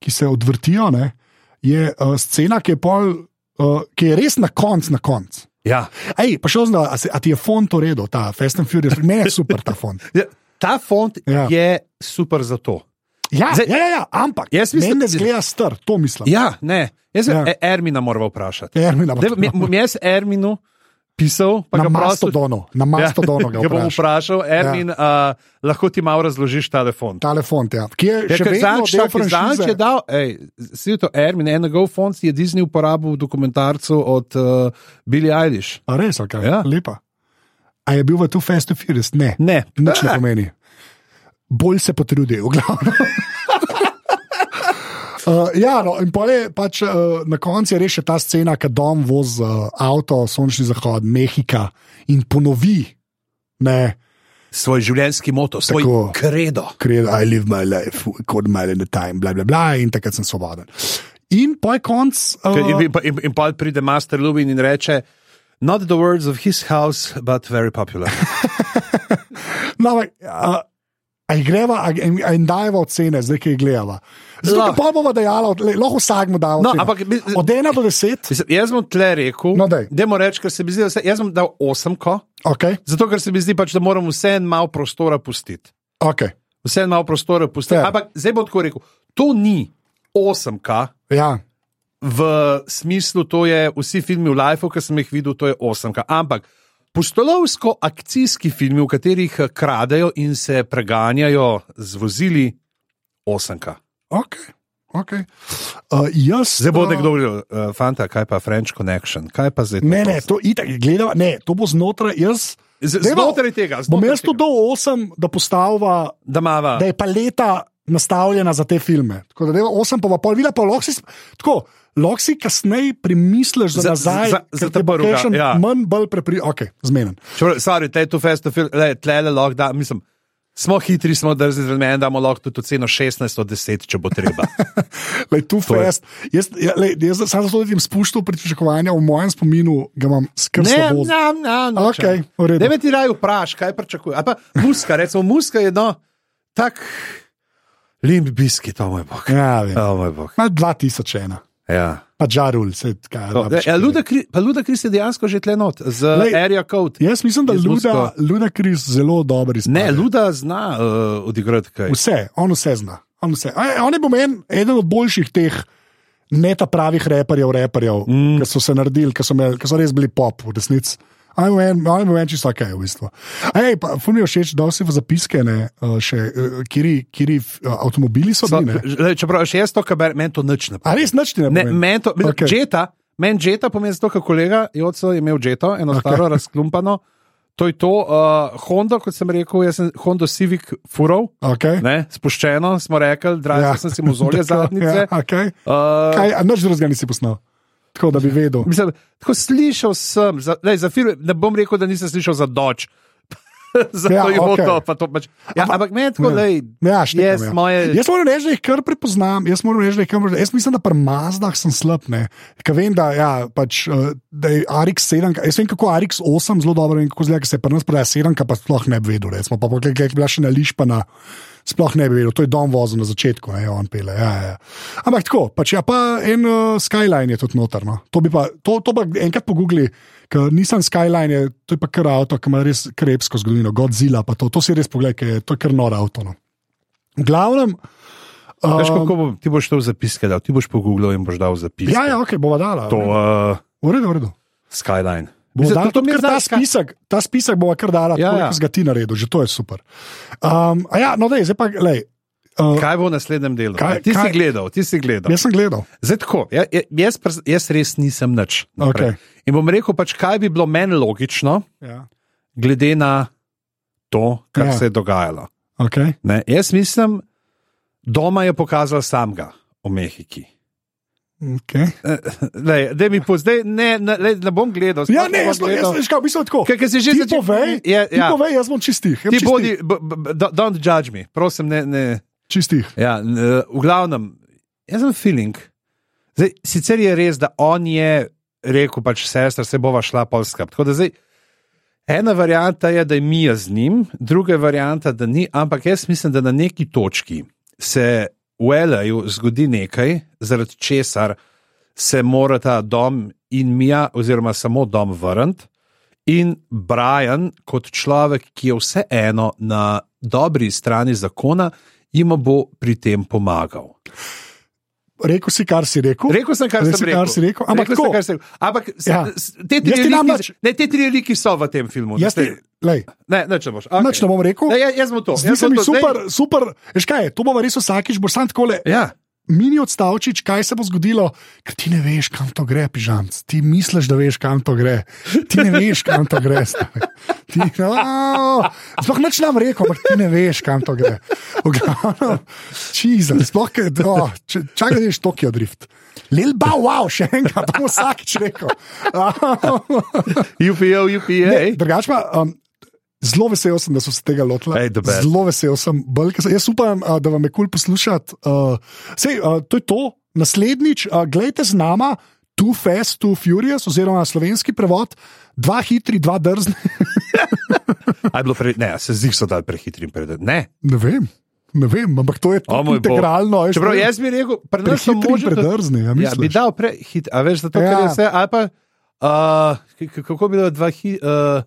ki se odvrtijo, ne, je uh, scena, ki je, pol, uh, ki je res na koncu, na koncu.
Ja.
Ej, pa še ozna, a, se- a ti je font uredu, ta Fast and Furious, ne je super ta font.
Ja, Ta font
Ja.
ja. je super za to.
Ja,
Zdaj-
Zdaj, ja, ja, ja, ampak
Jaz
meni
mislim-
ne zgleda star, to mislim.
Ja, ne, jaz
Ja.
ja. Ermina moram vprašati.
Termina,
Daj, mi- bom jaz Erminu pisal, pa
Na
ga prosil. Ja.
Mastodonu, na Mastodonu ga
ga bom
vprašaj.
vprašal, Ermin, ja. uh, lahko ti malo razložiš telefon.
Telefon, ja. ki je še
ker
vedno
Zanč-
del
čakaj, Zanč je
franšize.
dal, ej, si to Ermin, enega fond je Disney uporabil v dokumentarcu od uh, Billie Eilish.
A res, ok, ja.
Ja.
lepa. A je bil v tu Fast and Furious? Ne,
Ne,
nič ne pomeni. Bolj se potrudi, v glavnem. Uh, ja, no, in pol je pač uh, na koncu je res še ta scena, ki dom voz uh, avto, sončni zahod, Mehika in ponovi, ne,
svoj življenjski moto, svoj
Tako.
Tako. kredo.
create, I live my life, quarter mile at a time, bla, bla, bla, in takrat sem svoboden. In pol je konc.
Ker
Uh,
In, in, pa- in, in pa pride Master Lubin in reče: Not the words of his house, but very popular.
No, ampak, a, a ji greva, a, a jim dajeva ocene, zdaj ki jih gledava. Zato
Lahko.
pa bomo dejala, le, lahko vsakmo dajemo.
No, ampak mi-
od ena do deset,
Mislim, jaz bom tle rekel,
No, daj.
da mu rečem, ker se mi zdi, da se, jaz bom dal osemko,
ok.
zato ker se mi zdi, pač, da moram vse en malo prostora pustiti.
okay.
Vse en malo prostora pustiti.
Ja.
Ampak zdaj bom tako rekel, to ni osemka.
Ja,
V smislu, to je vsi filmi v Life, ki sem jih videl, to je osemka. Ampak pustolovsko-akcijski filmi, v katerih eh, kradejo in se preganjajo z vozili, osemka.
ok. okay. Uh, jaz,
Zdaj bo
a,
nekdo rekel, uh, fanta, kaj pa French Connection, kaj pa zdaj?
Ne, ne, to itak gledava, ne, to bo znotraj. Jaz,
Z-
Dajmo,
Znotraj tega,
bom
znotraj
jaz to
tega.
do osem, da postavlja,
da imava.
da je paleta nastavljena za te filme. Tako da deva osem, pa bo pol vila, pa lahko si, sp- tako, lahko si kasneje premisliš za
Za-
nazaj,
za- za
ker te bo
ta prva,
kakšen
ja.
manj bolj prepričan, ok, zmenen.
Čeprav, sorry, tle je to festival, tle je lahko da, mislim. Smo hitri, smo drzni, zelo meni, da imamo lahko tudi ceno 16 od 10, če bo treba.
Lej, tu
To je-
fest. Jaz, ja, lej, jaz sam zato vidim spuščal pričakovanja, v mojem spominu ga imam skrb
Ne,
slabo.
ne, ne, ne.
Okej, v redu.
Ne, ti raje vpraš, kaj pričakuje. Ali pa muska, recimo, muska je no, tak limb biski, to moj bog.
Ja, vem.
To moj bog.
Na 2001,
Ja.
pa žarul, se kaj.
To,
rabiš
ja,
kaj.
Luda, Kri- pa Luda Kris je dejansko že tlenot z
Lej,
Lej, area code.
Jaz mislim, da
Jaz
Luda,
muziko.
Luda Kris zelo dobro izpade.
Ne, Luda zna uh, odigrati kaj.
Vse, on vse zna. On, vse. A- on je bil meni eden od boljših teh ne ta pravih reperjev, reperjev mm. ki so se naredili, ki so, imeli, ki so res bili pop v resnici. On je bil en- on je bil en čisto kaj, v bistvu. Ej, pa fun mi je všeč, da si v zapiske, ne, eh, še, eh, kiri, kiri f- avtomobili so
So,
bili. ne?
lej, čeprav še jaz to, kar berem, meni to nič ne
A res nič ti ne
Ne,
pomeni?
meni to, okay.
Okej.
džeta, meni džeta pomeni zato, ker kolega Joco je imel džeto, eno okay. staro razklumpano. To je to, uh, Honda, kot sem rekel, jaz sem Honda Civic furov,
Okej.
ne, spuščeno smo rekli, dražil
Ja.
ja. sem si mozolje
Tako, Ja,
zadnjice.
okay.
Uh,
Kaj, a nič drugega nisi poznal, tako da bi vedel.
mislim, tako slišal sem, za, lej, za firme, ne bom rekel, da nisem slišal za Doč. Zato
Ja,
ja, je okay.
okej.
to, pa to pač. Ja, ampak meni tako, da
Ja, štekam,
Jaz
ja.
moje-
jaz moram reči, da jih kar prepoznam. Jaz, moram reči, da jih kar... jaz mislim, da pri Mazdah sem slab. ne. Ker vem, da, ja, pač, eh, da je Arix 7, ka- jaz vem kako Arix 8 zelo dobro in kako zgleda, ker se je pri nas prodaja 7, ka pa sploh ne bi vedel. Recimo, pa kaj je bila še na Lišpana. Sploh ne bi vedel, to je dom vozil na začetku, ne, on pele. Ja, ja. Ampak tako, pač, ja, pa en uh, Skyline je tudi notarno. To, bi pa, to, to pa enkrat pogugli, ker nisem Skyline, je, to je pa kar avto, ki ima res krepsko zgodovino, Godzilla, pa to, to si res pogled, ker je to je kar noro avto. No. V glavnem,
um, veš, kako bo, ti boš to v zapiske dal, ti boš pogooglil in boš dal zapis.
ja, ja, ok, bova dala.
To uh,
V redu, v redu.
Skyline.
Bomo dali tudi
mi je
kar ta
zdaj Sky-
spisek, ta spisek bomo kar dali,
Ja,
ja,
ja.
ja. ga ti naredil, že to je super. Um, a ja, no, dej, zdaj pa, lej, uh,
no. Kaj bo v naslednjem delu?
Kaj-
Kaj, ti, si
kaj- Ja.
gledal, ti si gledal. Jaz,
jaz sem gledal.
Zdaj, tako, ja- ja- jaz, pres- jaz res nisem nič. naprej. In bom rekel, pač, kaj bi bilo meni logično,
Ja.
glede na to, kar
Ja.
ja. se je dogajalo.
Okay.
Ne? Jaz mislim, doma je pokazal samega v Mehiki.
Okay.
Lej, daj mi po, zdaj, ne, ne, lej, ne bom gledal. sploh
Ja, ne,
bom
jaz, jaz,
gledal.
jaz, jaz, jaz sem tako.
Ker- ker si že
ti
začel-
povej,
Ja,
ti
ja.
povej, jaz bom čistih.
Ti bodi, b, b, b, don't judge me, prosim, ne. ne.
čistih.
Ja, n- v glavnem, jaz sem feeling. Zdaj, sicer je res, da on je rekel, pač sestra, se bova šla polska. Tako da zdaj, ena varianta je, da je Mija z njim, druga varianta, da ni, ampak jaz mislim, da na neki točki se v L.A.ju zgodi nekaj, zaradi česar se mora ta dom in Mija, oziroma samo dom vrniti. In Brian, kot človek, ki je vseeno na dobri strani zakona, jim bo pri tem pomagal.
Rekel si, kar si rekel.
Rekel sem, kar
Rekel
sem
si,
rekel.
kar si rekel, ampak
rekel sem,
tako.
kar sem rekel. Ampak
Ja.
ja. te,
Jaz
tri
ti dam
liki,
nič.
ne, te tri liki so v tem filmu.
Jaz ti,
ne,
lej,
ne, ne, če boš. Okay.
nič ne bom rekel.
Ne, jaz, jaz bom to.
Zdi
Ja, jaz
se
bom
mi
to.
super,
Zdaj,
super. Veš kaj, to bomo res vsakič, boš sam tako le.
ja.
mini odstavčič, kaj se bo zgodilo, ker ti ne veš, kam to gre, pižamc. Ti misliš, da veš, kam to gre. Ti ne veš, kam to gre. stari. Ti, no, sploh neč nam reko, ampak ti ne veš, kam to gre. V glavnem, Čizem, sploh kaj, oh, čakaj, da veš, Tokio drift. Lilba, wow, še enkrat, to bo vsakič rekel.
UPO, UPA.
Ne, Drugač pa. Um, Zelo vesel sem, da so se tega lotili.
Ej, the best.
Zelo vesel sem, bolj, ker sem. Jaz upam, a, da vam je kul cool poslušati. Uh, sej, uh, to je to. Naslednjič, uh, gledajte z nama. Too fast, too furious, oziroma slovenski prevod, dva hitri, dva drzni.
A je bilo pre, ne, se zdi, so dal prehitrim pred. Ne,
Ne vem, ne vem, ampak to je
O,
tako
moj bog.
integralno. a veš,
čeprav
to je
jaz bi rekel, pri nas so
prehitri,
možni.
predrzni. Ja,
Ja, bi
misliš?
dal prehit, a veš, zato ja.
Ja.
ker je vse, ali pa uh, k- k- kako bi bilo dva hi, uh,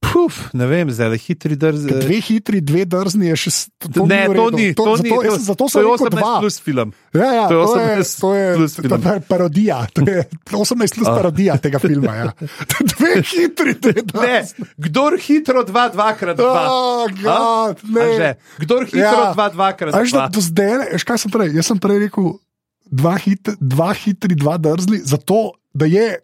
puf, ne vem, zdaj le hitri drz.
Dve hitri, dve drzni je še. s- To,
ne,
ni v
to
redu.
ni, to,
to,
ni,
zato,
to,
jaz sem- zato
to
sem
je
rekel
18
dva.
plus film.
Ja, ja,
To je
to, je to
18
je,
plus
to je
film.
par- parodija, to je 18 plus parodija tega filma. Ja. Dve hitri, dve
Ne,
danes.
kdor hitro dva, dvakrat dva.
Oh,
A?
God, ne. Ja.
A že? Kdor hitro dva, dvakrat
A Veš, da
dva.
do zdaj, ne- veš, kaj sem prej? Jaz sem prej rekel, dva, hit, dva hitri, dva drzli, zato da je.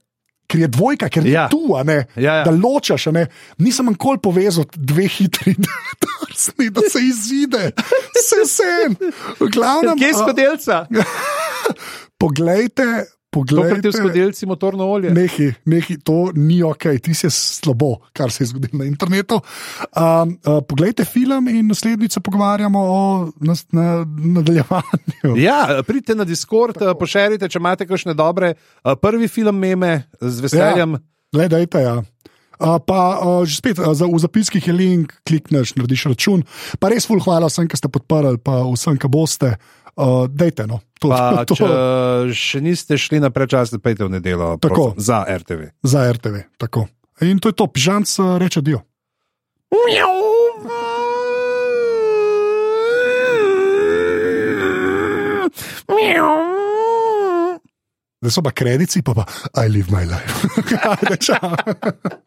Ker je dvojka, ker je ja.
Ja.
tu, a ne,
Ja, ja.
da ločaš. a Ne. Nisem nikoli povezal dve hitri, drzni, da se izide, se sen. V glavnem,
Kje
a-
so delca?
Poglejte, poglejte.
Tokrat je v skodelici motorno olje.
Nehi, nehi, to ni ok, ti si slabo, kar se je zgodilo na internetu. Um, uh, poglejte film in naslednjič se pogovarjamo o nas, na, nadaljevanju.
Ja, pridite na Discord, Tako. pošerite, če imate kakšne dobre. uh, Prvi film meme z veseljem. Ja.
Le, dajte, ja. Uh, pa uh, že spet, uh, za, v zapiskih je link, klikneš, narediš račun. Pa res ful hvala vsem, ki ste podprli, pa vsem, ki boste. Uh, dejte, no. To,
Pa,
to,
če eh,
to
še niste šli na prečasne, pejte v nedeljo
Tako.
prosim, za RTV.
za RTV. Tako. In to je to, pižanc uh, reče dio. Zdaj so pa kredici, pa pa I live my life. Ajde, čau.